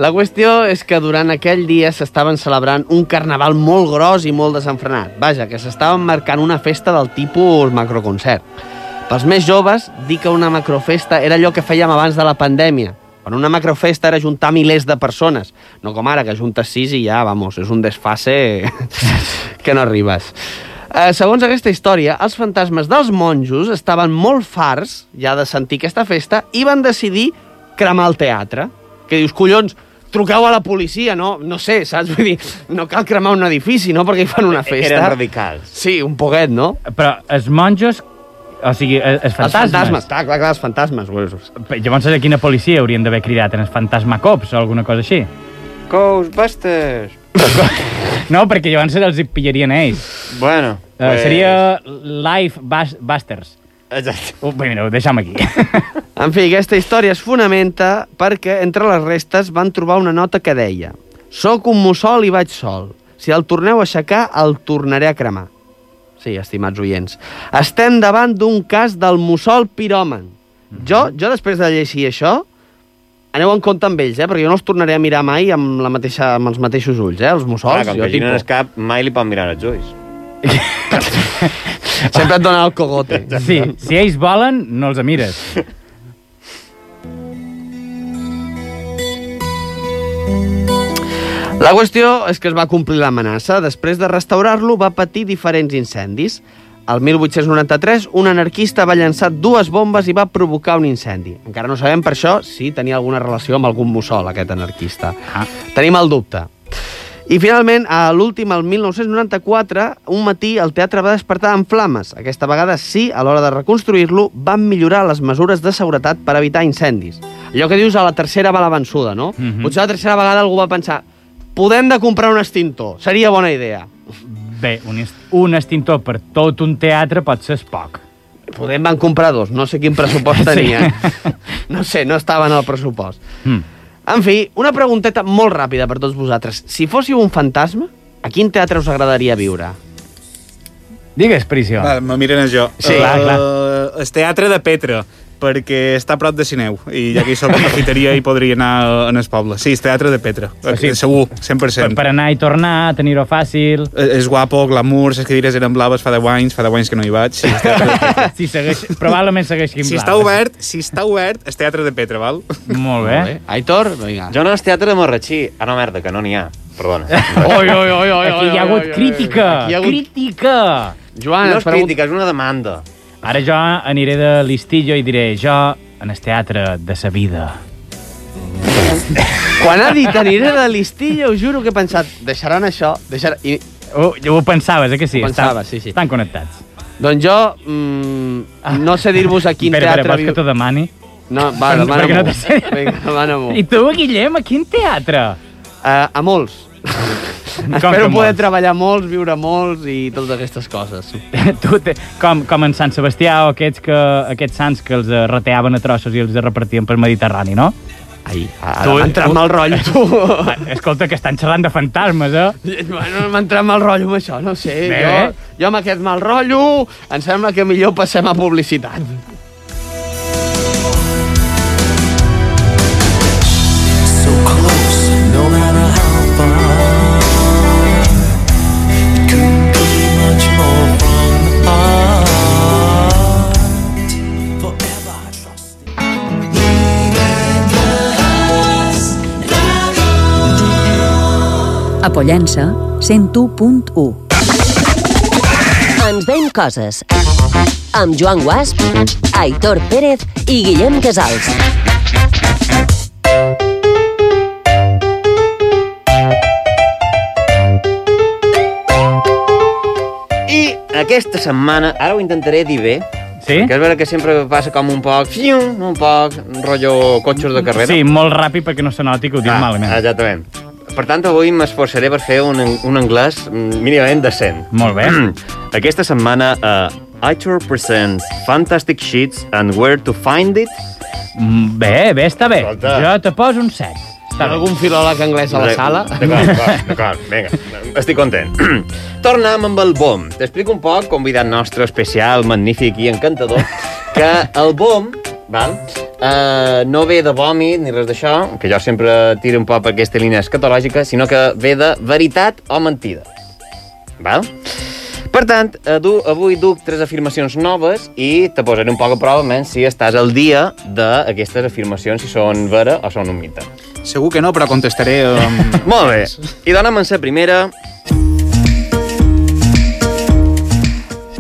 [SPEAKER 6] La qüestió és que durant aquell dia s'estaven celebrant un carnaval molt gros i molt desenfrenat. Vaja, que s'estaven marcant una festa del tipus macroconcert. Pels més joves, dir que una macrofesta era allò que fèiem abans de la pandèmia. Quan una macrofesta era juntar milers de persones, no com ara, que juntes sis i ja, vamos, és un desfase que no arribes. Eh, segons aquesta història, els fantasmes dels monjos estaven molt farts ja de sentir aquesta festa i van decidir cremar el teatre. Que dius, collons, truqueu a la policia, no? No sé, saps? Vull dir, no cal cremar un edifici, no?, perquè hi fan una festa.
[SPEAKER 8] Eren radicals.
[SPEAKER 6] Sí, un poquet, no?
[SPEAKER 4] Però els monjos, o sigui, eh, els els fantasmes...
[SPEAKER 6] Els fantasmes, clar, clar, clar, els fantasmes. Pues,
[SPEAKER 4] Llavors, a quina policia haurien d'haver cridat? En els fantasmacops o alguna cosa així?
[SPEAKER 8] Ghostbusters.
[SPEAKER 4] No, perquè llavors els hi pillarien ells.
[SPEAKER 8] Bueno.
[SPEAKER 4] Uh, seria Life Bas Busters.
[SPEAKER 8] Exacte.
[SPEAKER 4] Uh, bé, mira, ho deixem aquí.
[SPEAKER 6] En fi, aquesta història es fonamenta perquè entre les restes van trobar una nota que deia «Soc un mussol i vaig sol. Si el torneu a aixecar, el tornaré a cremar». Sí, estimats oients. Estem davant d'un cas del mussol piròman. Jo, jo després de llegir això, aneu en compte amb ells, eh? perquè jo no els tornaré a mirar mai amb, la mateixa, amb els mateixos ulls, eh? els
[SPEAKER 8] Clar,
[SPEAKER 6] mussols.
[SPEAKER 8] com
[SPEAKER 6] jo,
[SPEAKER 8] que aquí no
[SPEAKER 6] tipo,
[SPEAKER 8] n'es cap, mai li pot mirar els ulls.
[SPEAKER 6] Sempre et donen el cogote.
[SPEAKER 4] sí, si ells volen, no els mires.
[SPEAKER 6] La qüestió és que es va complir l'amenaça. Després de restaurar-lo, va patir diferents incendis. El 1893, un anarquista va llançar dues bombes i va provocar un incendi. Encara no sabem per això si tenia alguna relació amb algun mussol, aquest anarquista.
[SPEAKER 4] Ah.
[SPEAKER 6] Tenim el dubte. I finalment, a l'últim, el 1994, un matí el teatre va despertar en flames. Aquesta vegada sí, a l'hora de reconstruir-lo, van millorar les mesures de seguretat per evitar incendis. Allò que dius a la tercera va la vençuda, no? Mm
[SPEAKER 4] Mhm.
[SPEAKER 6] -hmm. Potser la tercera vegada algú va pensar podem de comprar un extintor, seria bona idea.
[SPEAKER 4] Bé, un, est- un extintor per tot un teatre pot ser poc.
[SPEAKER 6] Podem van comprar dos, no sé quin pressupost tenia. No sé, no estava en el pressupost.
[SPEAKER 4] Mm.
[SPEAKER 6] En fi, una pregunteta molt ràpida per tots vosaltres. Si fóssiu un fantasma, a quin teatre us agradaria viure?
[SPEAKER 4] Digues, Prisio.
[SPEAKER 5] Va, me miren jo.
[SPEAKER 4] Sí, clar, clar.
[SPEAKER 5] Eh, El teatre de Petra, perquè està a prop de Sineu, i ja que hi soc una fiteria i podria anar en el poble. Sí, el teatre de Petra,
[SPEAKER 4] O sigui,
[SPEAKER 5] segur,
[SPEAKER 4] Per,
[SPEAKER 5] 100%.
[SPEAKER 4] per anar i tornar, tenir-ho fàcil...
[SPEAKER 5] Eh, És guapo, glamour, les cadires eren blaves fa 10 anys, fa 10 anys que no hi vaig. Sí, el teatre de Petra.
[SPEAKER 4] Si segueix, probablement segueix Quim
[SPEAKER 5] si
[SPEAKER 4] Blas.
[SPEAKER 5] està obert, si està obert, el teatre de Petra, val?
[SPEAKER 4] Molt bé.
[SPEAKER 6] Eh? Aitor, vinga.
[SPEAKER 8] Jo no al teatre de Marratxí. Ah, no, merda, que no n'hi ha. Perdona.
[SPEAKER 6] Oi, oi, oi, oi,
[SPEAKER 4] Aquí hi ha hagut crítica.
[SPEAKER 6] Aquí hi ha hagut...
[SPEAKER 4] Crítica.
[SPEAKER 6] Joan,
[SPEAKER 8] no
[SPEAKER 6] ens
[SPEAKER 8] és
[SPEAKER 6] pregun-
[SPEAKER 8] crítica, és una demanda.
[SPEAKER 4] Ara jo aniré de listillo i diré jo en el teatre de sa vida.
[SPEAKER 6] Quan ha dit aniré de l'estillo, us juro que he pensat, deixaran això, deixaran... I,
[SPEAKER 4] Ho, ho pensaves, eh, que sí?
[SPEAKER 6] Ho pensava,
[SPEAKER 4] Estan-
[SPEAKER 6] sí, sí.
[SPEAKER 4] Estan connectats.
[SPEAKER 6] doncs jo mm, no sé dir-vos a quin
[SPEAKER 4] Espera, espera,
[SPEAKER 6] teatre...
[SPEAKER 4] vols que t'ho demani?
[SPEAKER 6] No, va,
[SPEAKER 4] Doncs, perquè
[SPEAKER 6] demana-m'ho.
[SPEAKER 4] no te sé.
[SPEAKER 6] Vinga, demana-m'ho.
[SPEAKER 4] I tu, Guillem, a quin teatre?
[SPEAKER 6] Uh, a molts.
[SPEAKER 4] Com
[SPEAKER 6] Espero
[SPEAKER 4] que
[SPEAKER 6] poder
[SPEAKER 4] molts?
[SPEAKER 6] treballar molts, viure molts i totes aquestes coses.
[SPEAKER 4] tu te, com, com en Sant Sebastià o aquests, que, aquests sants que els eh, reteaven a trossos i els repartien pel Mediterrani, no?
[SPEAKER 6] Ai,
[SPEAKER 4] Tu-
[SPEAKER 6] ara m'ha entrat mal rotllo, tu.
[SPEAKER 4] Ah, Escolta, que estan xerrant de fantasmes, eh?
[SPEAKER 6] bueno, m'ha entrat mal rotllo amb això, no sé.
[SPEAKER 4] Bé,
[SPEAKER 6] jo,
[SPEAKER 4] bé.
[SPEAKER 6] jo amb aquest mal rotllo em sembla que millor passem a publicitat.
[SPEAKER 7] So close, no matter how far. It couldn't be much more from the heart. Forever trusting.
[SPEAKER 2] A Pollença, 101.1.
[SPEAKER 3] Ens veiem coses. Amb Joan Guasp, Aitor Pérez i Guillem Casals.
[SPEAKER 8] I aquesta setmana, ara ho intentaré dir bé,
[SPEAKER 4] Sí?
[SPEAKER 8] que és vera que sempre passa com un poc, fium, un poc, rotllo cotxos de carrera. Ah,
[SPEAKER 4] Sí, molt ràpid perquè no se noti que ho dic malament.
[SPEAKER 8] Exactament. Per tant, avui m'esforçaré per fer un, un anglès mm, mínimament decent.
[SPEAKER 4] Molt bé.
[SPEAKER 8] Aquesta setmana, uh, Aitor presents Fantastic Sheets and Where to Find It.
[SPEAKER 4] Mm, Bé, bé, està bé.
[SPEAKER 8] Escolta.
[SPEAKER 4] Jo te poso un set. Està bé.
[SPEAKER 6] Algun filòleg anglès a la sala?
[SPEAKER 8] D'acord, d'acord, d'acord, vinga, estic content. Tornam amb el BOM. T'explico un poc, convidat nostre especial, magnífic i encantador, que el BOM, val, eh, no ve de vòmit ni res d'això, que jo sempre tiro un poc per aquesta línia escatològica, sinó que ve de veritat o mentida. Val? Per tant, eh, du, avui duc tres afirmacions noves i te posaré un poc a prova, men, si estàs al dia d'aquestes afirmacions, si són vera o són un mite.
[SPEAKER 5] Segur que no, però contestaré... Um...
[SPEAKER 8] Molt bé. I dona'm en la primera.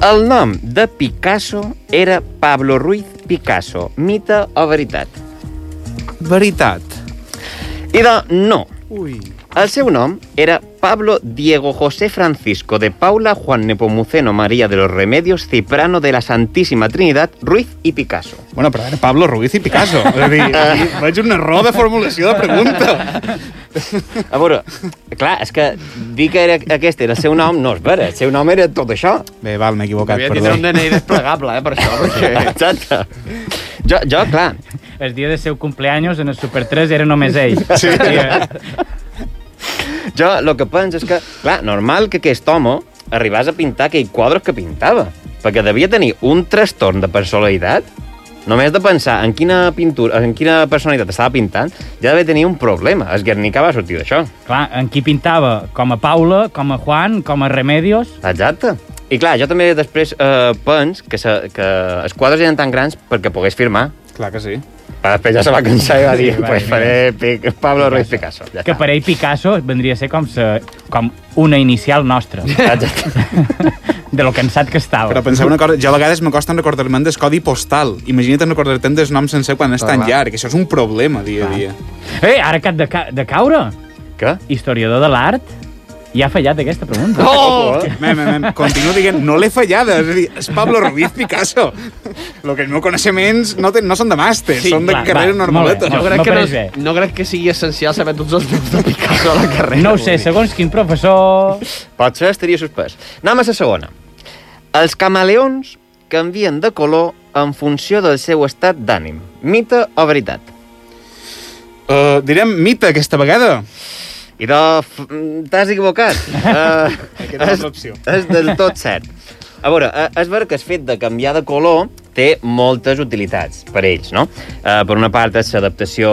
[SPEAKER 8] El nom de Picasso era Pablo Ruiz Picasso. Mite o veritat?
[SPEAKER 5] Veritat.
[SPEAKER 8] I de no.
[SPEAKER 5] Ui.
[SPEAKER 8] El seu nom era Pablo Diego José Francisco de Paula Juan Nepomuceno María de los Remedios Ciprano de la Santísima Trinidad Ruiz y Picasso.
[SPEAKER 5] Bueno, però era Pablo Ruiz i Picasso. És a dir, aquí veig un error de formulació de pregunta.
[SPEAKER 8] A veure, clar, és que dir que era, aquest era el seu nom no és vera. El seu nom era tot això.
[SPEAKER 5] Bé, val, m'he equivocat,
[SPEAKER 6] Havia de tindre un
[SPEAKER 5] perdó.
[SPEAKER 6] DNI desplegable, eh, per això, perquè...
[SPEAKER 8] Exacte. Jo, jo clar,
[SPEAKER 4] El dia del seu cumpleaños en el Super 3 era només ell. Sí. eh?
[SPEAKER 8] Jo el que penso és que, clar, normal que aquest home arribàs a pintar aquell quadres que pintava, perquè devia tenir un trastorn de personalitat. Només de pensar en quina pintura, en quina personalitat estava pintant, ja devia tenir un problema. Es Guernica va sortir d'això.
[SPEAKER 4] Clar, en qui pintava? Com a Paula, com a Juan, com a Remedios?
[SPEAKER 8] Exacte. I clar, jo també després eh, pens que, se, que els quadres eren tan grans perquè pogués firmar.
[SPEAKER 5] Clar que sí.
[SPEAKER 8] Però després ja se va cansar i va dir,
[SPEAKER 4] Sí, va,
[SPEAKER 8] pues
[SPEAKER 4] mira.
[SPEAKER 8] faré Pic- Pablo Ruiz Picasso. Ja
[SPEAKER 4] Que
[SPEAKER 8] està.
[SPEAKER 4] per ell Picasso vendria a ser com, sa, com una inicial nostra.
[SPEAKER 8] Exacte.
[SPEAKER 4] de lo cansat que estava.
[SPEAKER 5] Però penseu una cosa, jo a vegades me costa recordar-me'n del codi postal. Imagina't recordar-te'n del nom sencer quan és tan llarg. Això és un problema dia a dia.
[SPEAKER 4] Eh, ara que et de, ca de caure,
[SPEAKER 8] Què?
[SPEAKER 4] historiador de l'art, ja ha fallat aquesta pregunta.
[SPEAKER 8] Oh!
[SPEAKER 5] Mem, mem, mem, continuo dient, no l'he fallada. És a dir, és Pablo Ruiz Picasso. Lo que els meus coneixements no, ten, no són de màster,
[SPEAKER 4] Sí,
[SPEAKER 5] sí, són de
[SPEAKER 4] clar,
[SPEAKER 5] carrera
[SPEAKER 4] va,
[SPEAKER 5] normaleta.
[SPEAKER 4] molt
[SPEAKER 6] Jo
[SPEAKER 4] bé.
[SPEAKER 6] crec que no,
[SPEAKER 4] m'apareix bé.
[SPEAKER 6] no crec que sigui essencial saber tots els noms de Picasso a la carrera.
[SPEAKER 4] No ho sé, segons quin professor...
[SPEAKER 8] Potser estaria suspès. Anem a la segona. Els camaleons canvien de color en funció del seu estat d'ànim. Mite o veritat?
[SPEAKER 5] Uh, direm mita aquesta vegada.
[SPEAKER 8] I de... f- mm, t'has equivocat. Uh,
[SPEAKER 5] Aquesta és l'opció.
[SPEAKER 8] és del tot cert. A veure, eh, és ver que el fet de canviar de color té moltes utilitats per ells, no? Eh, per una part és l'adaptació,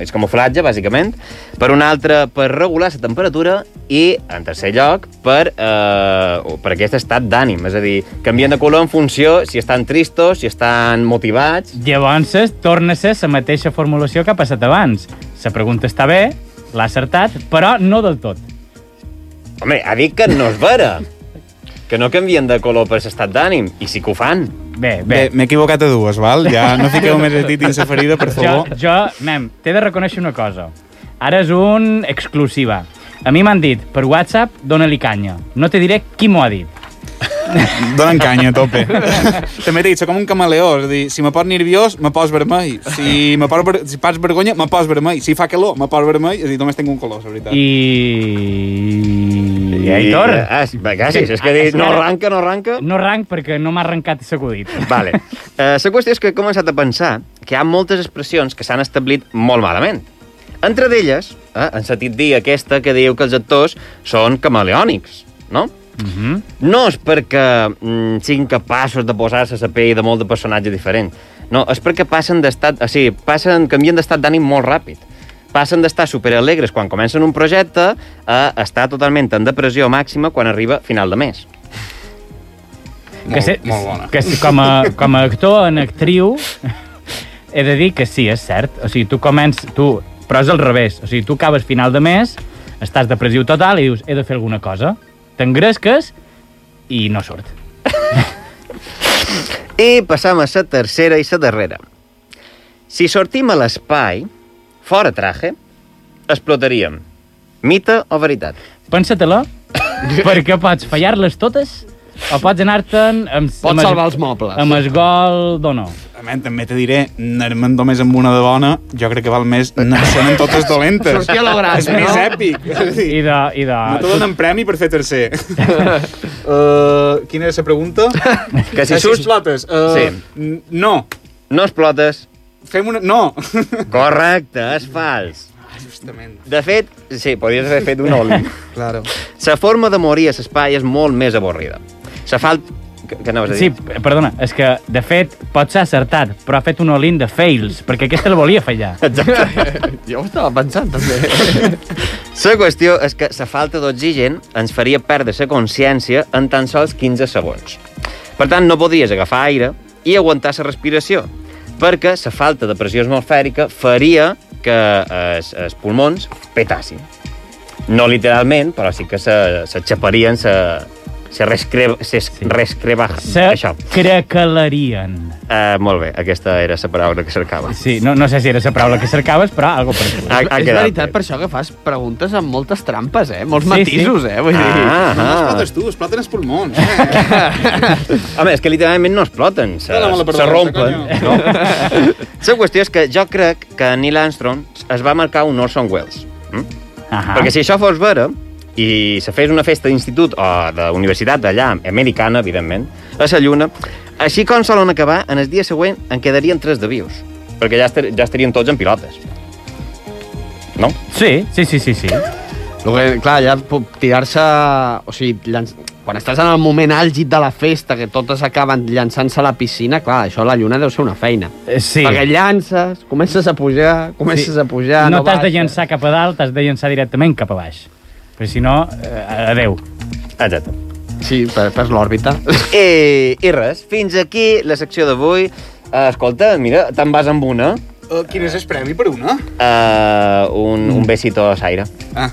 [SPEAKER 8] és camuflatge, bàsicament, per una altra per regular la temperatura i, en tercer lloc, per, eh, o per aquest estat d'ànim, és a dir, canvien de color en funció si estan tristos, si estan motivats...
[SPEAKER 4] Llavors, torna a ser la mateixa formulació que ha passat abans. La pregunta està bé, l'ha acertat, però no del tot.
[SPEAKER 8] Home, ha dit que no és vera, que no canvien de color per l'estat d'ànim, i sí que ho fan.
[SPEAKER 4] Bé, bé.
[SPEAKER 5] Bé, Eh, m'he equivocat a dues, val? Ja no fiqueu més el dit dins la ferida, per
[SPEAKER 4] Jo,
[SPEAKER 5] favor.
[SPEAKER 4] jo mem, t'he de reconèixer una cosa. Ara és un exclusiva. A mi m'han dit, per WhatsApp, dona-li canya. No te diré qui m'ho ha dit.
[SPEAKER 5] Donen canya, a tope. També t'he dit, soc com un camaleó, és a dir, si me pot nerviós, me pos vermell. Si me pot, ver- si pas vergonya, me pos vermell. Si fa calor, me pos vermell. És a dir, només tinc un color, la veritat. I...
[SPEAKER 4] I... I Aitor,
[SPEAKER 8] Ah, sí, va, gràcies. És que
[SPEAKER 4] Ah,
[SPEAKER 8] dius,
[SPEAKER 4] és que
[SPEAKER 8] no
[SPEAKER 4] ara-
[SPEAKER 8] arranca, no arranca.
[SPEAKER 4] no ranc perquè no m'ha arrencat l'acudit.
[SPEAKER 8] Vale. Eh, la qüestió és que he començat a pensar que hi ha moltes expressions que s'han establit molt malament. Entre d'elles, eh, en sentit dir aquesta que diu que els actors són camaleònics, no?
[SPEAKER 4] Mm -hmm.
[SPEAKER 8] No és perquè mm, siguin capaços de posar-se la pell de molt de personatge diferent. No, és perquè passen d'estat... O sigui, passen, canvien d'estat d'ànim molt ràpid. Passen d'estar superalegres quan comencen un projecte a estar totalment en depressió màxima quan arriba final de mes.
[SPEAKER 4] que
[SPEAKER 5] Molt, molt bona.
[SPEAKER 4] Que, si- com, a, com a actor, en actriu, he de dir que sí, és cert. O sigui, tu comences... Tu, però és al revés. O sigui, tu acabes final de mes estàs depressiu total i dius, he de fer alguna cosa. T'engresques i no surt.
[SPEAKER 8] I passam a la tercera i la darrera. Si sortim a l'espai, fora traje, explotaríem. Mita o veritat?
[SPEAKER 4] Pensa-te-la, perquè pots fallar-les totes o pots anar-te'n amb,
[SPEAKER 6] Pots salvar els mobles.
[SPEAKER 4] amb esgol d'o no.
[SPEAKER 5] A mi també te diré, anar-me'n només amb una de bona, jo crec que val més anar-se'n amb totes dolentes.
[SPEAKER 6] Sortir a lo gran,
[SPEAKER 5] És més
[SPEAKER 6] no?
[SPEAKER 5] èpic. És a dir,
[SPEAKER 4] I de... I de...
[SPEAKER 5] No te donen premi per fer tercer. uh, quina era la pregunta?
[SPEAKER 8] Que si
[SPEAKER 5] Ah,
[SPEAKER 8] surts-
[SPEAKER 5] explotes. Uh,
[SPEAKER 8] Sí.
[SPEAKER 5] n- No.
[SPEAKER 8] No explotes.
[SPEAKER 5] Fem una... No.
[SPEAKER 8] Correcte, és fals.
[SPEAKER 5] Ah, Justament.
[SPEAKER 8] De fet, sí, podries haver fet un oli.
[SPEAKER 5] Claro.
[SPEAKER 8] La forma de morir a l'espai és molt més avorrida. La falta... Que, que anaves a
[SPEAKER 4] Sí,
[SPEAKER 8] dir?
[SPEAKER 4] p- perdona, és que, de fet, pot ser acertat, però ha fet un all-in de fails, perquè aquesta el volia fallar.
[SPEAKER 6] Jo ho estava pensant, també.
[SPEAKER 8] La qüestió és que la falta d'oxigen ens faria perdre la consciència en tan sols 15 segons. Per tant, no podries agafar aire i aguantar la respiració, perquè la falta de pressió atmosfèrica faria que els, els pulmons petassin. No literalment, però sí que se, se xaparien, se, se, rescre, se sí. rescreva...
[SPEAKER 4] Se
[SPEAKER 8] Això.
[SPEAKER 4] crecalarien.
[SPEAKER 8] Uh, molt bé, aquesta era la paraula que cercava.
[SPEAKER 4] Sí, no, no sé si era la paraula que cercaves, però algo per aquí.
[SPEAKER 8] Ha, ha
[SPEAKER 6] és
[SPEAKER 8] quedat
[SPEAKER 6] veritat
[SPEAKER 8] bé.
[SPEAKER 6] per això que fas preguntes amb moltes trampes, eh? Molts
[SPEAKER 4] Sí,
[SPEAKER 6] sí, matisos,
[SPEAKER 4] sí.
[SPEAKER 6] eh? Vull dir...
[SPEAKER 8] Ah,
[SPEAKER 5] No
[SPEAKER 8] ah.
[SPEAKER 5] explotes tu, exploten els pulmons. Eh?
[SPEAKER 8] Home, és que literalment no exploten, se,
[SPEAKER 5] Dóna-me la
[SPEAKER 8] se
[SPEAKER 5] pregunta,
[SPEAKER 8] rompen.
[SPEAKER 5] coño.
[SPEAKER 8] No? la qüestió és que jo crec que Neil Armstrong es va marcar un Orson Welles. Mm? Ah.
[SPEAKER 4] Ahà.
[SPEAKER 8] Perquè si això fos vera, i se fes una festa d'institut o d'universitat d'allà, americana, evidentment, a la lluna, així com solen acabar, en el dia següent en quedarien tres de vius, perquè ja, estar, ja estarien tots en pilotes. No?
[SPEAKER 4] Sí, sí, sí, sí, sí.
[SPEAKER 6] El que, clar, ja puc tirar-se... O sigui, llanç... quan estàs en el moment àlgid de la festa, que totes acaben llançant-se a la piscina, clar, això a la lluna deu ser una feina.
[SPEAKER 4] Eh, Sí.
[SPEAKER 6] Perquè llances, comences a pujar, comences sí. a pujar...
[SPEAKER 4] no t'has de
[SPEAKER 6] baixes.
[SPEAKER 4] llançar cap a dalt, t'has de llançar directament cap a baix. Perquè si no, eh, adeu.
[SPEAKER 8] Exacte.
[SPEAKER 6] Sí, per, per l'òrbita.
[SPEAKER 8] I, I res, fins aquí la secció d'avui. Eh, Escolta, mira, te'n vas amb una.
[SPEAKER 5] Uh, quin és el premi per una?
[SPEAKER 8] Uh, un, un besito a Saira.
[SPEAKER 5] Ah.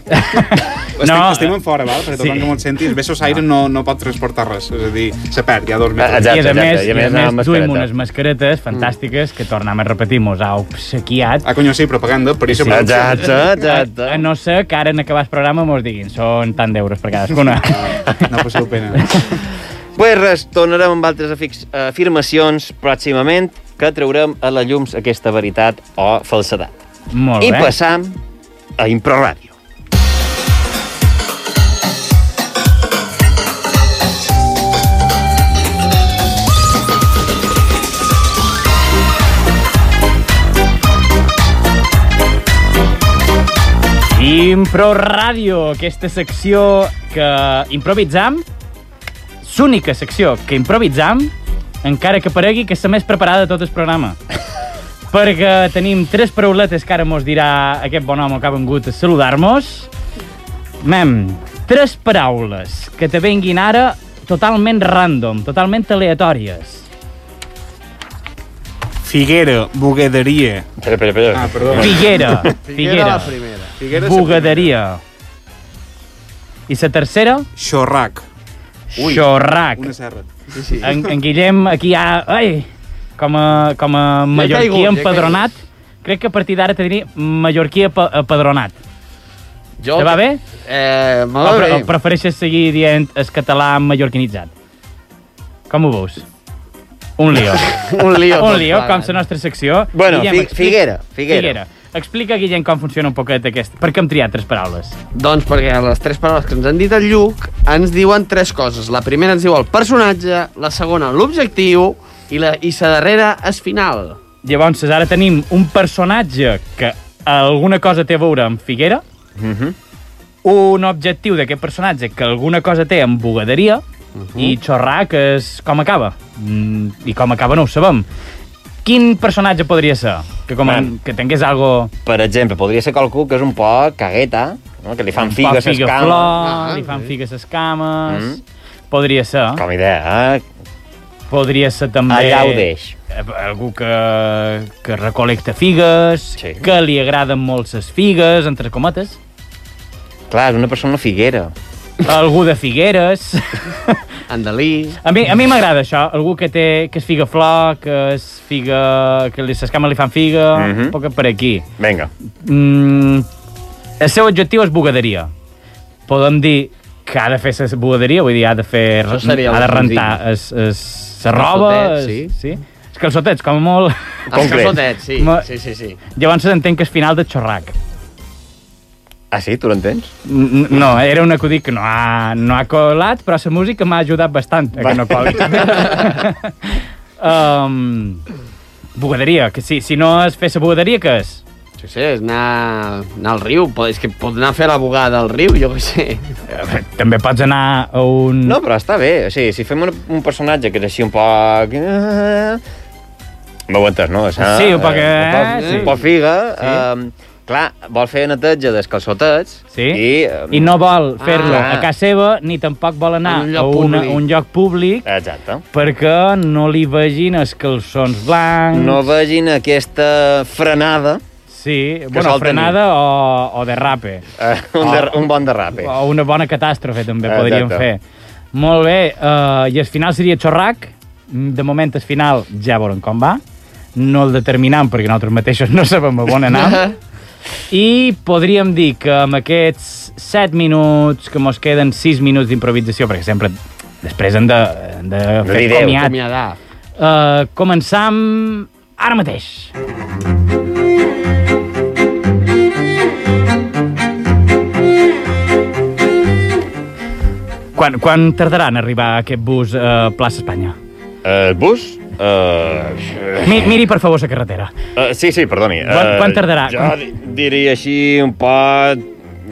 [SPEAKER 5] Estem,
[SPEAKER 4] No, eh.
[SPEAKER 5] estem en fora, val? perquè
[SPEAKER 4] sí.
[SPEAKER 5] tothom que m'ho senti, el besos aire no, no pot transportar res, és a dir, se perd, hi ha dos metres.
[SPEAKER 8] Exacte,
[SPEAKER 4] I, a
[SPEAKER 8] exacte,
[SPEAKER 4] més,
[SPEAKER 8] i a més,
[SPEAKER 4] i a
[SPEAKER 8] amb
[SPEAKER 4] més duim
[SPEAKER 8] mascareta.
[SPEAKER 4] unes mascaretes fantàstiques que, tornem a repetir, mos ha obsequiat.
[SPEAKER 5] Ah, conyo, sí, propaganda, per això...
[SPEAKER 8] Exacte,
[SPEAKER 4] A, a
[SPEAKER 8] exacte. Eh,
[SPEAKER 4] no ser que ara en acabar el programa mos diguin són tant d'euros per cadascuna.
[SPEAKER 5] No passeu pena.
[SPEAKER 8] pues res, tornarem amb altres afix, afirmacions pròximament que traurem a la llum aquesta veritat o falsedat.
[SPEAKER 4] Molt
[SPEAKER 8] I
[SPEAKER 4] bé.
[SPEAKER 8] passam a Impro Ràdio.
[SPEAKER 4] Impro Ràdio, aquesta secció que improvisam, l'única secció que improvisam, encara que paregui que és la més preparada de tot el programa. Perquè tenim tres parauletes que ara mos dirà aquest bon home que ha vengut a saludar-nos. Mem, tres paraules que te venguin ara totalment random, totalment aleatòries.
[SPEAKER 5] Figuera, bugaderia.
[SPEAKER 8] Espera, espera, espera.
[SPEAKER 5] Ah, perdó.
[SPEAKER 4] Figuera,
[SPEAKER 6] Figuera
[SPEAKER 4] Figuera,
[SPEAKER 6] la primera.
[SPEAKER 5] Figuera,
[SPEAKER 4] Bugaderia. I la tercera,
[SPEAKER 5] Xorrac.
[SPEAKER 4] xorrac.
[SPEAKER 5] Una serra.
[SPEAKER 6] Sí, sí.
[SPEAKER 4] en, en Guillem aquí ha... Ai, com a, com a mallorquí
[SPEAKER 6] caigut, ja he
[SPEAKER 4] empadronat, crec que a partir d'ara te diria mallorquí apa- empadronat.
[SPEAKER 6] Jo...
[SPEAKER 4] Te va bé?
[SPEAKER 6] Eh, me
[SPEAKER 4] O,
[SPEAKER 6] va
[SPEAKER 4] pre
[SPEAKER 6] bé.
[SPEAKER 4] o prefereixes seguir dient el català mallorquinitzat? Com ho veus? Un lío.
[SPEAKER 6] Un lío. doncs,
[SPEAKER 4] un
[SPEAKER 6] tot
[SPEAKER 4] lío,
[SPEAKER 6] plegat.
[SPEAKER 4] com la nostra secció.
[SPEAKER 8] Bueno, fi-
[SPEAKER 4] explica-
[SPEAKER 8] Figuera, Figuera.
[SPEAKER 4] Figuera. Explica, Guillem, com funciona un poquet aquest... Per què hem triat tres paraules?
[SPEAKER 6] Doncs perquè les tres paraules que ens han dit el Lluc ens diuen tres coses. La primera ens diu el personatge, la segona l'objectiu i la, i la darrera és final.
[SPEAKER 4] Llavors, ara tenim un personatge que alguna cosa té a veure amb Figuera,
[SPEAKER 8] Mhm.
[SPEAKER 4] un objectiu d'aquest personatge que alguna cosa té amb Bugaderia,
[SPEAKER 8] Mhm.
[SPEAKER 4] i Xorrà, que és com acaba. Mm, I com acaba no ho sabem. Quin personatge podria ser? Que, com
[SPEAKER 8] Man.
[SPEAKER 4] que tingués algo...
[SPEAKER 8] Per exemple, podria ser qualcú que és un poc cagueta, no? que li fan
[SPEAKER 4] pa,
[SPEAKER 8] figues a
[SPEAKER 4] figa,
[SPEAKER 8] escama.
[SPEAKER 4] flor,
[SPEAKER 6] Ah,
[SPEAKER 4] li fan
[SPEAKER 6] sí.
[SPEAKER 4] figues a escames...
[SPEAKER 8] Mhm.
[SPEAKER 4] Podria ser.
[SPEAKER 8] Com a idea, eh?
[SPEAKER 4] Podria ser també...
[SPEAKER 8] Allà ho deix.
[SPEAKER 4] eh, Algú que, que recolecta figues,
[SPEAKER 8] Sí.
[SPEAKER 4] que li agraden molt les figues, entre cometes.
[SPEAKER 8] Clar, és una persona figuera.
[SPEAKER 4] Algú de Figueres.
[SPEAKER 6] Andalí.
[SPEAKER 4] A mi a mi m'agrada això, algú que té que es figa flor, que es figa que les cames li fan figa, mm -hmm.
[SPEAKER 8] Mhm.
[SPEAKER 4] un poc per aquí.
[SPEAKER 8] Vinga.
[SPEAKER 4] Mm, el seu objectiu és bugaderia. Podem dir que ha de fer la bugaderia, vull dir, ha de fer...
[SPEAKER 6] Això seria
[SPEAKER 4] ha de
[SPEAKER 6] el senzill.
[SPEAKER 4] rentar es, es, la roba...
[SPEAKER 6] calçotets, sí.
[SPEAKER 4] es, sí. Els calçotets, com a molt...
[SPEAKER 6] Els
[SPEAKER 8] Concret.
[SPEAKER 6] calçotets, sí.
[SPEAKER 4] Ma-
[SPEAKER 6] sí, sí, sí.
[SPEAKER 4] Llavors entenc que és final de xorrac.
[SPEAKER 8] Ah, sí? Tu l'entens?
[SPEAKER 4] N- No, era un acudit que no ha, no ha colat, però la música m'ha ajudat bastant a que no coli. um, bugaderia, que si, si no es fes la bugaderia, què és?
[SPEAKER 6] Jo sé, és anar, anar al riu. Però és que pot anar a fer la bugada al riu, jo què sé.
[SPEAKER 4] Eh, També pots anar a un...
[SPEAKER 8] No, però està bé. O sigui, si fem un, un personatge que és així un poc... M'aguantes, no? És,
[SPEAKER 4] Sí, un poc, eh,
[SPEAKER 8] un poc,
[SPEAKER 4] sí.
[SPEAKER 8] un poc figa.
[SPEAKER 4] Sí.
[SPEAKER 8] Sí. Eh, clar, vol fer neteja dels calçotets.
[SPEAKER 4] Sí?
[SPEAKER 8] I, eh,
[SPEAKER 4] I no vol fer-lo
[SPEAKER 8] Ah.
[SPEAKER 4] a casa seva, ni tampoc vol anar
[SPEAKER 6] En un
[SPEAKER 4] a
[SPEAKER 6] lloc
[SPEAKER 4] una,
[SPEAKER 6] públic.
[SPEAKER 4] un lloc públic
[SPEAKER 8] eh, Exacte.
[SPEAKER 4] perquè no li vegin els calçons blancs.
[SPEAKER 8] No vegin aquesta frenada,
[SPEAKER 4] Sí,
[SPEAKER 8] que
[SPEAKER 4] bueno,
[SPEAKER 8] sol tenir.
[SPEAKER 4] frenada o, o derrape.
[SPEAKER 8] eh, un, der,
[SPEAKER 4] Oh.
[SPEAKER 8] un bon derrape.
[SPEAKER 4] O una bona catàstrofe, també,
[SPEAKER 8] Exacte.
[SPEAKER 4] podríem fer. Molt bé, uh, i el final seria xorrac. De moment, el final ja veurem com va. No el determinam, perquè nosaltres mateixos no sabem a on anar. I podríem dir que amb aquests 7 minuts, que mos queden 6 minuts d'improvisació, perquè sempre després hem de, hem de fer
[SPEAKER 8] dir adéu.
[SPEAKER 4] comiat,
[SPEAKER 6] Acomiadar.
[SPEAKER 4] uh, començam ara mateix. Quan, quan tardarà en arribar aquest bus a plaça Espanya?
[SPEAKER 8] Eh, el bus... Eh,
[SPEAKER 4] Mi, miri, per favor, la carretera.
[SPEAKER 8] eh, sí, sí, perdoni.
[SPEAKER 4] Quan-
[SPEAKER 8] Eh,
[SPEAKER 4] quan tardarà?
[SPEAKER 8] Jo
[SPEAKER 4] Quan-
[SPEAKER 8] di- diria així un pot...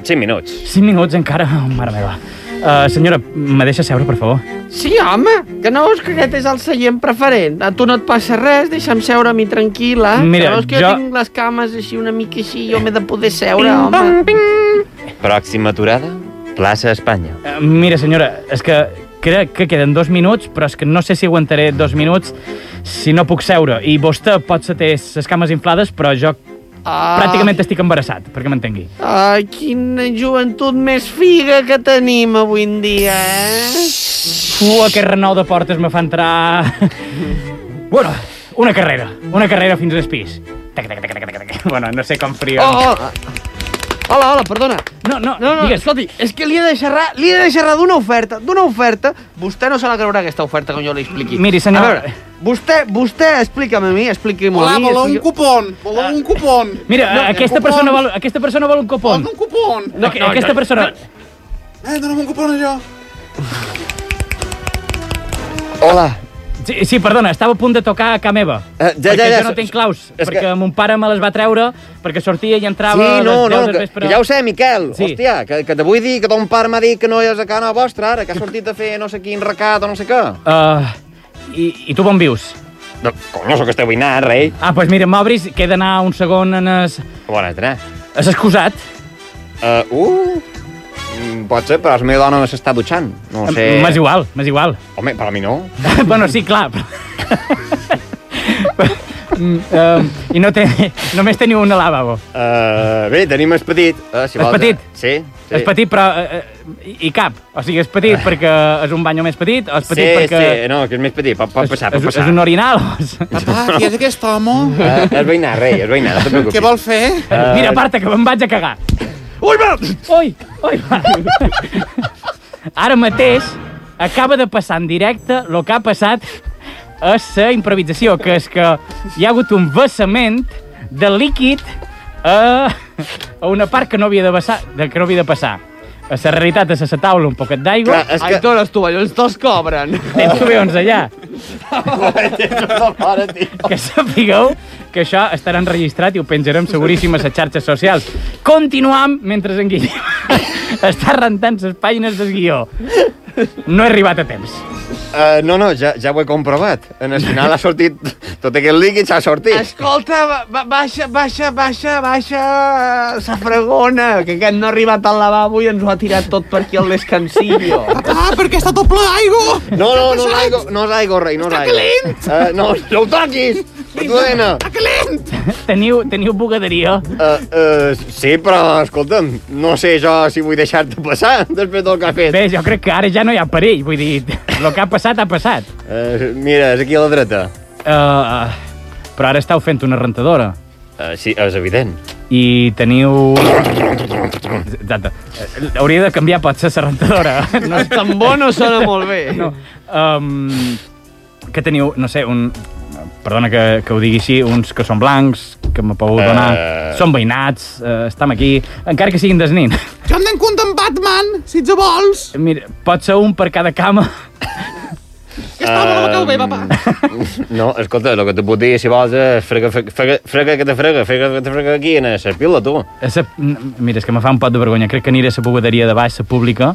[SPEAKER 8] 5 minuts.
[SPEAKER 4] 5 minuts encara, oh, mare meva. Uh, senyora, me deixa seure, per favor?
[SPEAKER 6] Sí, home, que no veus que aquest és el seient preferent? A tu no et passa res, deixa'm seure a mi tranquil·la.
[SPEAKER 4] Mira,
[SPEAKER 6] que veus que
[SPEAKER 4] jo-
[SPEAKER 6] jo tinc les cames així una mica així, jo m'he de poder seure, home.
[SPEAKER 4] Ah,
[SPEAKER 8] Pròxima aturada, plaça Espanya.
[SPEAKER 4] Eh, Mira, senyora, és que crec que queden dos minuts, però és que no sé si aguantaré dos minuts si no puc seure. I vostè potser té les cames inflades, però jo
[SPEAKER 6] Ah,
[SPEAKER 4] pràcticament estic embarassat, perquè m'entengui.
[SPEAKER 6] Ah, quina joventut més figa que tenim avui en dia, eh?
[SPEAKER 4] Fu, aquest renou de portes me fa entrar... bueno, una carrera, una carrera fins al pis. Tac, tac, tac, tac, tac, tac. Bueno, no sé com frio.
[SPEAKER 6] Oh, oh. ah. Hola, hola, perdona.
[SPEAKER 4] No, no,
[SPEAKER 6] No, no,
[SPEAKER 4] digues.
[SPEAKER 6] escolti, és que li he de xerrar, li he de xerrar d'una oferta, d'una oferta. Vostè no se la creurà aquesta oferta com jo li expliqui.
[SPEAKER 4] Miri, senyor-
[SPEAKER 6] A veure, vostè, vostè explica'm a mi, expliqui-m'ho a
[SPEAKER 5] Hola,
[SPEAKER 6] mi.
[SPEAKER 5] voleu un
[SPEAKER 6] expliqui-
[SPEAKER 5] cupon, voleu un cupon.
[SPEAKER 4] Mira, eh,
[SPEAKER 5] No,
[SPEAKER 4] aquesta,
[SPEAKER 5] cupons.
[SPEAKER 4] persona vol, aquesta persona vol un copon.
[SPEAKER 6] Oh,
[SPEAKER 5] Voleu un cupon.
[SPEAKER 4] No, no, aquesta no, persona... No.
[SPEAKER 5] Eh, dona'm un cupon a jo.
[SPEAKER 8] Hola.
[SPEAKER 4] Sí, sí, perdona, estava a punt de tocar a ca meva.
[SPEAKER 8] Eh, ja,
[SPEAKER 4] perquè
[SPEAKER 8] ja, ja,
[SPEAKER 4] jo no
[SPEAKER 8] so-
[SPEAKER 4] tinc claus,
[SPEAKER 8] és
[SPEAKER 4] perquè
[SPEAKER 8] que-
[SPEAKER 4] mon pare me les va treure, perquè sortia i entrava
[SPEAKER 8] Sí, no,
[SPEAKER 4] a les 10
[SPEAKER 8] no,
[SPEAKER 4] del
[SPEAKER 8] que,
[SPEAKER 4] vespre.
[SPEAKER 8] que ja ho sé, Miquel.
[SPEAKER 4] Sí.
[SPEAKER 8] Sí. Hòstia, que, que te vull dir que ton pare m'ha dit que no és a casa vostra ara, que ha sortit a fer no sé quin recat o no sé què.
[SPEAKER 4] Uh, i, I tu on vius?
[SPEAKER 8] No, no sóc que esteu vinat, rei.
[SPEAKER 4] Ah, doncs pues mira, m'obris, que he d'anar un segon en es...
[SPEAKER 8] Bona tarda.
[SPEAKER 4] Has excusat?
[SPEAKER 8] Uh, uh, mm, pot ser, però la meva dona s'està dutxant. No ho sé.
[SPEAKER 4] M'és igual, m'és igual.
[SPEAKER 8] Home, per a mi no.
[SPEAKER 4] bueno, sí, clar. però- Mm, um, I no té, només teniu un lavabo.
[SPEAKER 8] Uh, bé, tenim el petit. Uh, si
[SPEAKER 4] El
[SPEAKER 8] vols,
[SPEAKER 4] petit?
[SPEAKER 8] Sí.
[SPEAKER 4] Sí.
[SPEAKER 8] sí. Ah.
[SPEAKER 4] És petit, però... Uh, i cap. O sigui, és petit perquè és un bany més petit, o és petit
[SPEAKER 8] sí,
[SPEAKER 4] perquè...
[SPEAKER 8] sí, no, que és més petit, pot, pot passar,
[SPEAKER 4] és,
[SPEAKER 8] pot
[SPEAKER 4] és,
[SPEAKER 8] passar.
[SPEAKER 4] és un orinal. o és-
[SPEAKER 5] Papà, qui és aquest home?
[SPEAKER 8] Eh, és veïnat, rei, és veïnat, no te preocupis.
[SPEAKER 5] Què vol fer?
[SPEAKER 8] Eh,
[SPEAKER 4] Mira, aparta, que me'n vaig a cagar.
[SPEAKER 6] Ui, va!
[SPEAKER 4] Ui, ui. Ara mateix acaba de passar en directe el que ha passat a la improvisació, que és que hi ha hagut un vessament de líquid a, a una part que no havia de, vessar, de que no havia de passar. A la realitat, a la taula, un poquet d'aigua,
[SPEAKER 8] Clar, és
[SPEAKER 6] Ai,
[SPEAKER 8] que...
[SPEAKER 6] tots els tovallons te'ls cobren.
[SPEAKER 4] tens tu bé allà.
[SPEAKER 8] Ai, pare, tio.
[SPEAKER 4] que sapigueu que això estarà enregistrat i ho penjarem seguríssim a les xarxes socials. Continuam mentre en Guillem està rentant les pàgines del guió. No he arribat a temps.
[SPEAKER 8] Eh, no, no, ja, ja ho he comprovat. En el final ha sortit... Tot aquest líquid s'ha sortit.
[SPEAKER 6] Escolta, ba- ba- baixa, baixa, baixa, baixa, sa fregona, que aquest no ha arribat al lavabo i ens ho ha tirat tot per aquí al descansillo.
[SPEAKER 5] Papà, perquè està tot ple d'aigua.
[SPEAKER 8] No, no, no és aigua, no és aigua, rei, no és aigua. Eh, no, no ho toquis! Lorena,
[SPEAKER 4] Teniu, teniu bugaderia?
[SPEAKER 8] uh, uh, sí, però, escolta'm, no sé jo si vull deixar-te passar després del que has fet.
[SPEAKER 4] Bé, jo crec que ara ja no hi ha perill, vull dir, el que ha passat, ha passat.
[SPEAKER 8] Uh, mira, és aquí a la dreta.
[SPEAKER 4] Uh, però ara estàu fent una rentadora
[SPEAKER 8] Uh, sí, és evident.
[SPEAKER 4] i teniu... Exacte. Eh, Hauria de canviar potser la rentadora. No,
[SPEAKER 6] El tambor no sona molt bé.
[SPEAKER 4] no. Um, que teniu, no sé, un... Perdona que, que ho digui així, uns que són blancs, que m'ha pogut
[SPEAKER 8] Eh.
[SPEAKER 4] donar, són veïnats, uh, estem aquí, encara que siguin desnint.
[SPEAKER 9] Jo em den compte amb Batman, si ets a vols.
[SPEAKER 4] Mira, pot ser un per cada cama.
[SPEAKER 9] Que està molt que ho ve, papa.
[SPEAKER 6] Eh,
[SPEAKER 8] No, escolta, el que te puc dir, si vols, és frega, frega, frega, frega que te frega, frega que te frega aquí, en la pila, tu.
[SPEAKER 4] Esa, mira, és que me fa un pot de vergonya. Crec que aniré a la bugaderia de baix, la pública,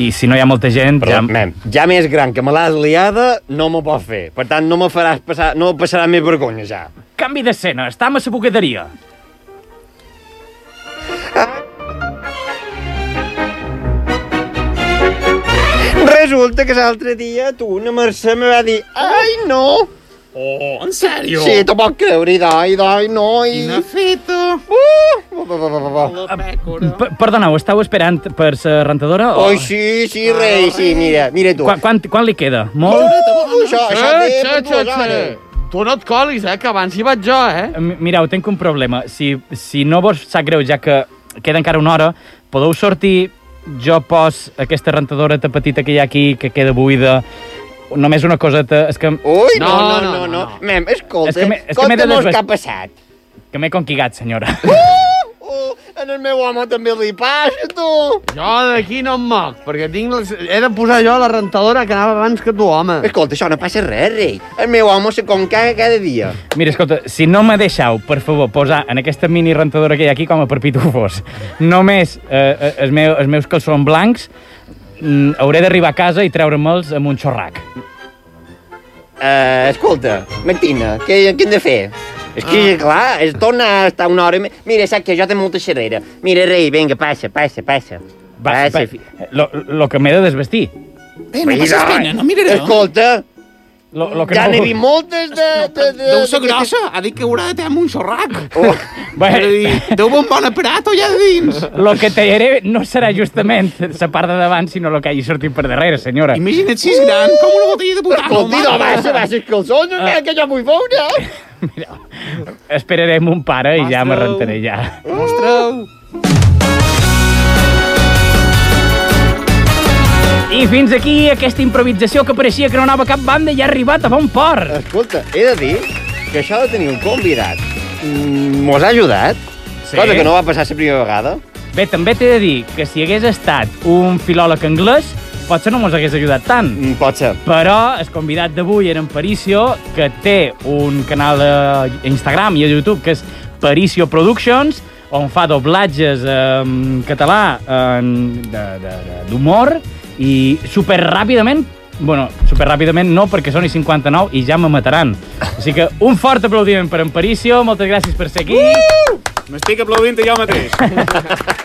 [SPEAKER 4] i si no hi ha molta gent...
[SPEAKER 8] Però, ja... Mem, ja més gran que me l'has liada, no me pot fer. Per tant, no me faràs passar, no me passarà més vergonya, ja.
[SPEAKER 4] Canvi d'escena, estem a la bugaderia.
[SPEAKER 8] Resulta que l'altre dia tu, una Mercè, me va dir, ai, no!
[SPEAKER 9] Oh, en sèrio?
[SPEAKER 8] Sí, t'ho pot creure, i dai, dai, no, i...
[SPEAKER 9] Quina feta.
[SPEAKER 8] Uh, va, va, va, va, va.
[SPEAKER 9] La pècora.
[SPEAKER 4] P Perdoneu, estàu esperant per la rentadora? O...
[SPEAKER 8] Oi, sí, sí, rei, sí, mira, mira tu.
[SPEAKER 4] Quan, quan, quan li queda? Molt?
[SPEAKER 8] Uh, això, això
[SPEAKER 6] eh,
[SPEAKER 8] té eh? per dues hores.
[SPEAKER 6] Tu no et colis, eh, que abans hi vaig jo, eh?
[SPEAKER 4] Mi- Mireu, tinc un problema. Si, si no vos sap greu, ja que queda encara una hora, podeu sortir, jo pos aquesta rentadoreta petita que hi ha aquí, que queda buida, només una coseta, és que,
[SPEAKER 8] Ui, no,
[SPEAKER 6] No,
[SPEAKER 8] no, no,
[SPEAKER 6] no,
[SPEAKER 8] no.
[SPEAKER 6] no,
[SPEAKER 8] no. Mem,
[SPEAKER 4] És
[SPEAKER 8] escolta,
[SPEAKER 4] que m'he- és que m'he de
[SPEAKER 8] conta'm el que
[SPEAKER 4] desves-
[SPEAKER 8] ha passat.
[SPEAKER 4] que m'he conquigat, senyora.
[SPEAKER 8] Uh, en el meu home també li passa, tu.
[SPEAKER 6] Jo d'aquí no em moc, perquè tinc les... he de posar jo la rentadora que anava abans que tu, home.
[SPEAKER 8] Escolta, això no passa res, rei. El meu home se concaga cada dia.
[SPEAKER 4] Mira, escolta, si no me deixeu, per favor, posar en aquesta mini rentadora que hi ha aquí com a per pitufos, només eh, els, meus, els meus calçons blancs, mm, hauré d'arribar a casa i treure'ls amb un xorrac.
[SPEAKER 8] Uh, escolta, Martina, què, què hem de fer? És que, ah. clar, es torna a estar una hora... i me- Mira, saps que jo té molta xerrera. Mira, rei, vinga, passa, passa, passa.
[SPEAKER 4] Va, va,
[SPEAKER 8] Ah, fi-
[SPEAKER 4] lo, lo que m'he de desvestir.
[SPEAKER 9] Eh, no passes
[SPEAKER 8] Mira,
[SPEAKER 9] pena, no miraré.
[SPEAKER 8] Escolta,
[SPEAKER 4] Lo, lo Oh, que
[SPEAKER 8] ja
[SPEAKER 4] no...
[SPEAKER 8] n'he vist moltes de... de, de
[SPEAKER 9] Deu ser
[SPEAKER 8] de-
[SPEAKER 9] grossa, ha dit que haurà de tenir un xorrac.
[SPEAKER 8] Oh,
[SPEAKER 4] Bé,
[SPEAKER 9] És a dir, Deu un bon aparat allà dins.
[SPEAKER 4] lo que tallaré no serà justament la part de davant, sinó lo que hagi sortit per darrere, senyora.
[SPEAKER 9] Imagina't si és gran, com una botella de butano.
[SPEAKER 8] escolti, no, baixa, baixa els calçons, que, que jo vull veure.
[SPEAKER 4] Esperarem un pare i ja m'arrentaré ja.
[SPEAKER 6] Mostreu.
[SPEAKER 4] I fins aquí aquesta improvisació que pareixia que no anava a cap banda i ha arribat a bon port.
[SPEAKER 8] Escolta, he de dir que això de tenir un convidat mm, mos ha ajudat,
[SPEAKER 4] Sí.
[SPEAKER 8] sí. cosa que no va passar la primera vegada.
[SPEAKER 4] Bé, també t'he de dir que si hagués estat un filòleg anglès, potser no mos hagués ajudat tant.
[SPEAKER 8] Mm, Pot ser.
[SPEAKER 4] Però el convidat d'avui era en Paricio, que té un canal a Instagram i a YouTube que és Paricio Productions, on fa doblatges eh, en català en- de- de- de- d'humor i superràpidament Bueno, superràpidament no, perquè són i 59 i ja me mataran. Així que un fort aplaudiment per en Paricio, moltes gràcies per ser aquí. Uh!
[SPEAKER 5] M'estic aplaudint jo mateix.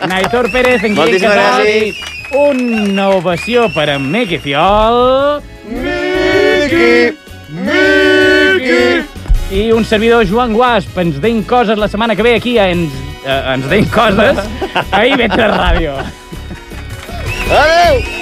[SPEAKER 4] Naitor Pérez, en Guillem
[SPEAKER 8] Moltíssimes
[SPEAKER 4] Casals.
[SPEAKER 8] gràcies.
[SPEAKER 4] Una ovació per en Miqui Fiol.
[SPEAKER 8] Miqui! Miqui!
[SPEAKER 4] I un servidor, Joan Guasp, ens deim coses la setmana que ve aquí a ens, eh, ens deim coses a IB3 Ràdio.
[SPEAKER 8] Adéu!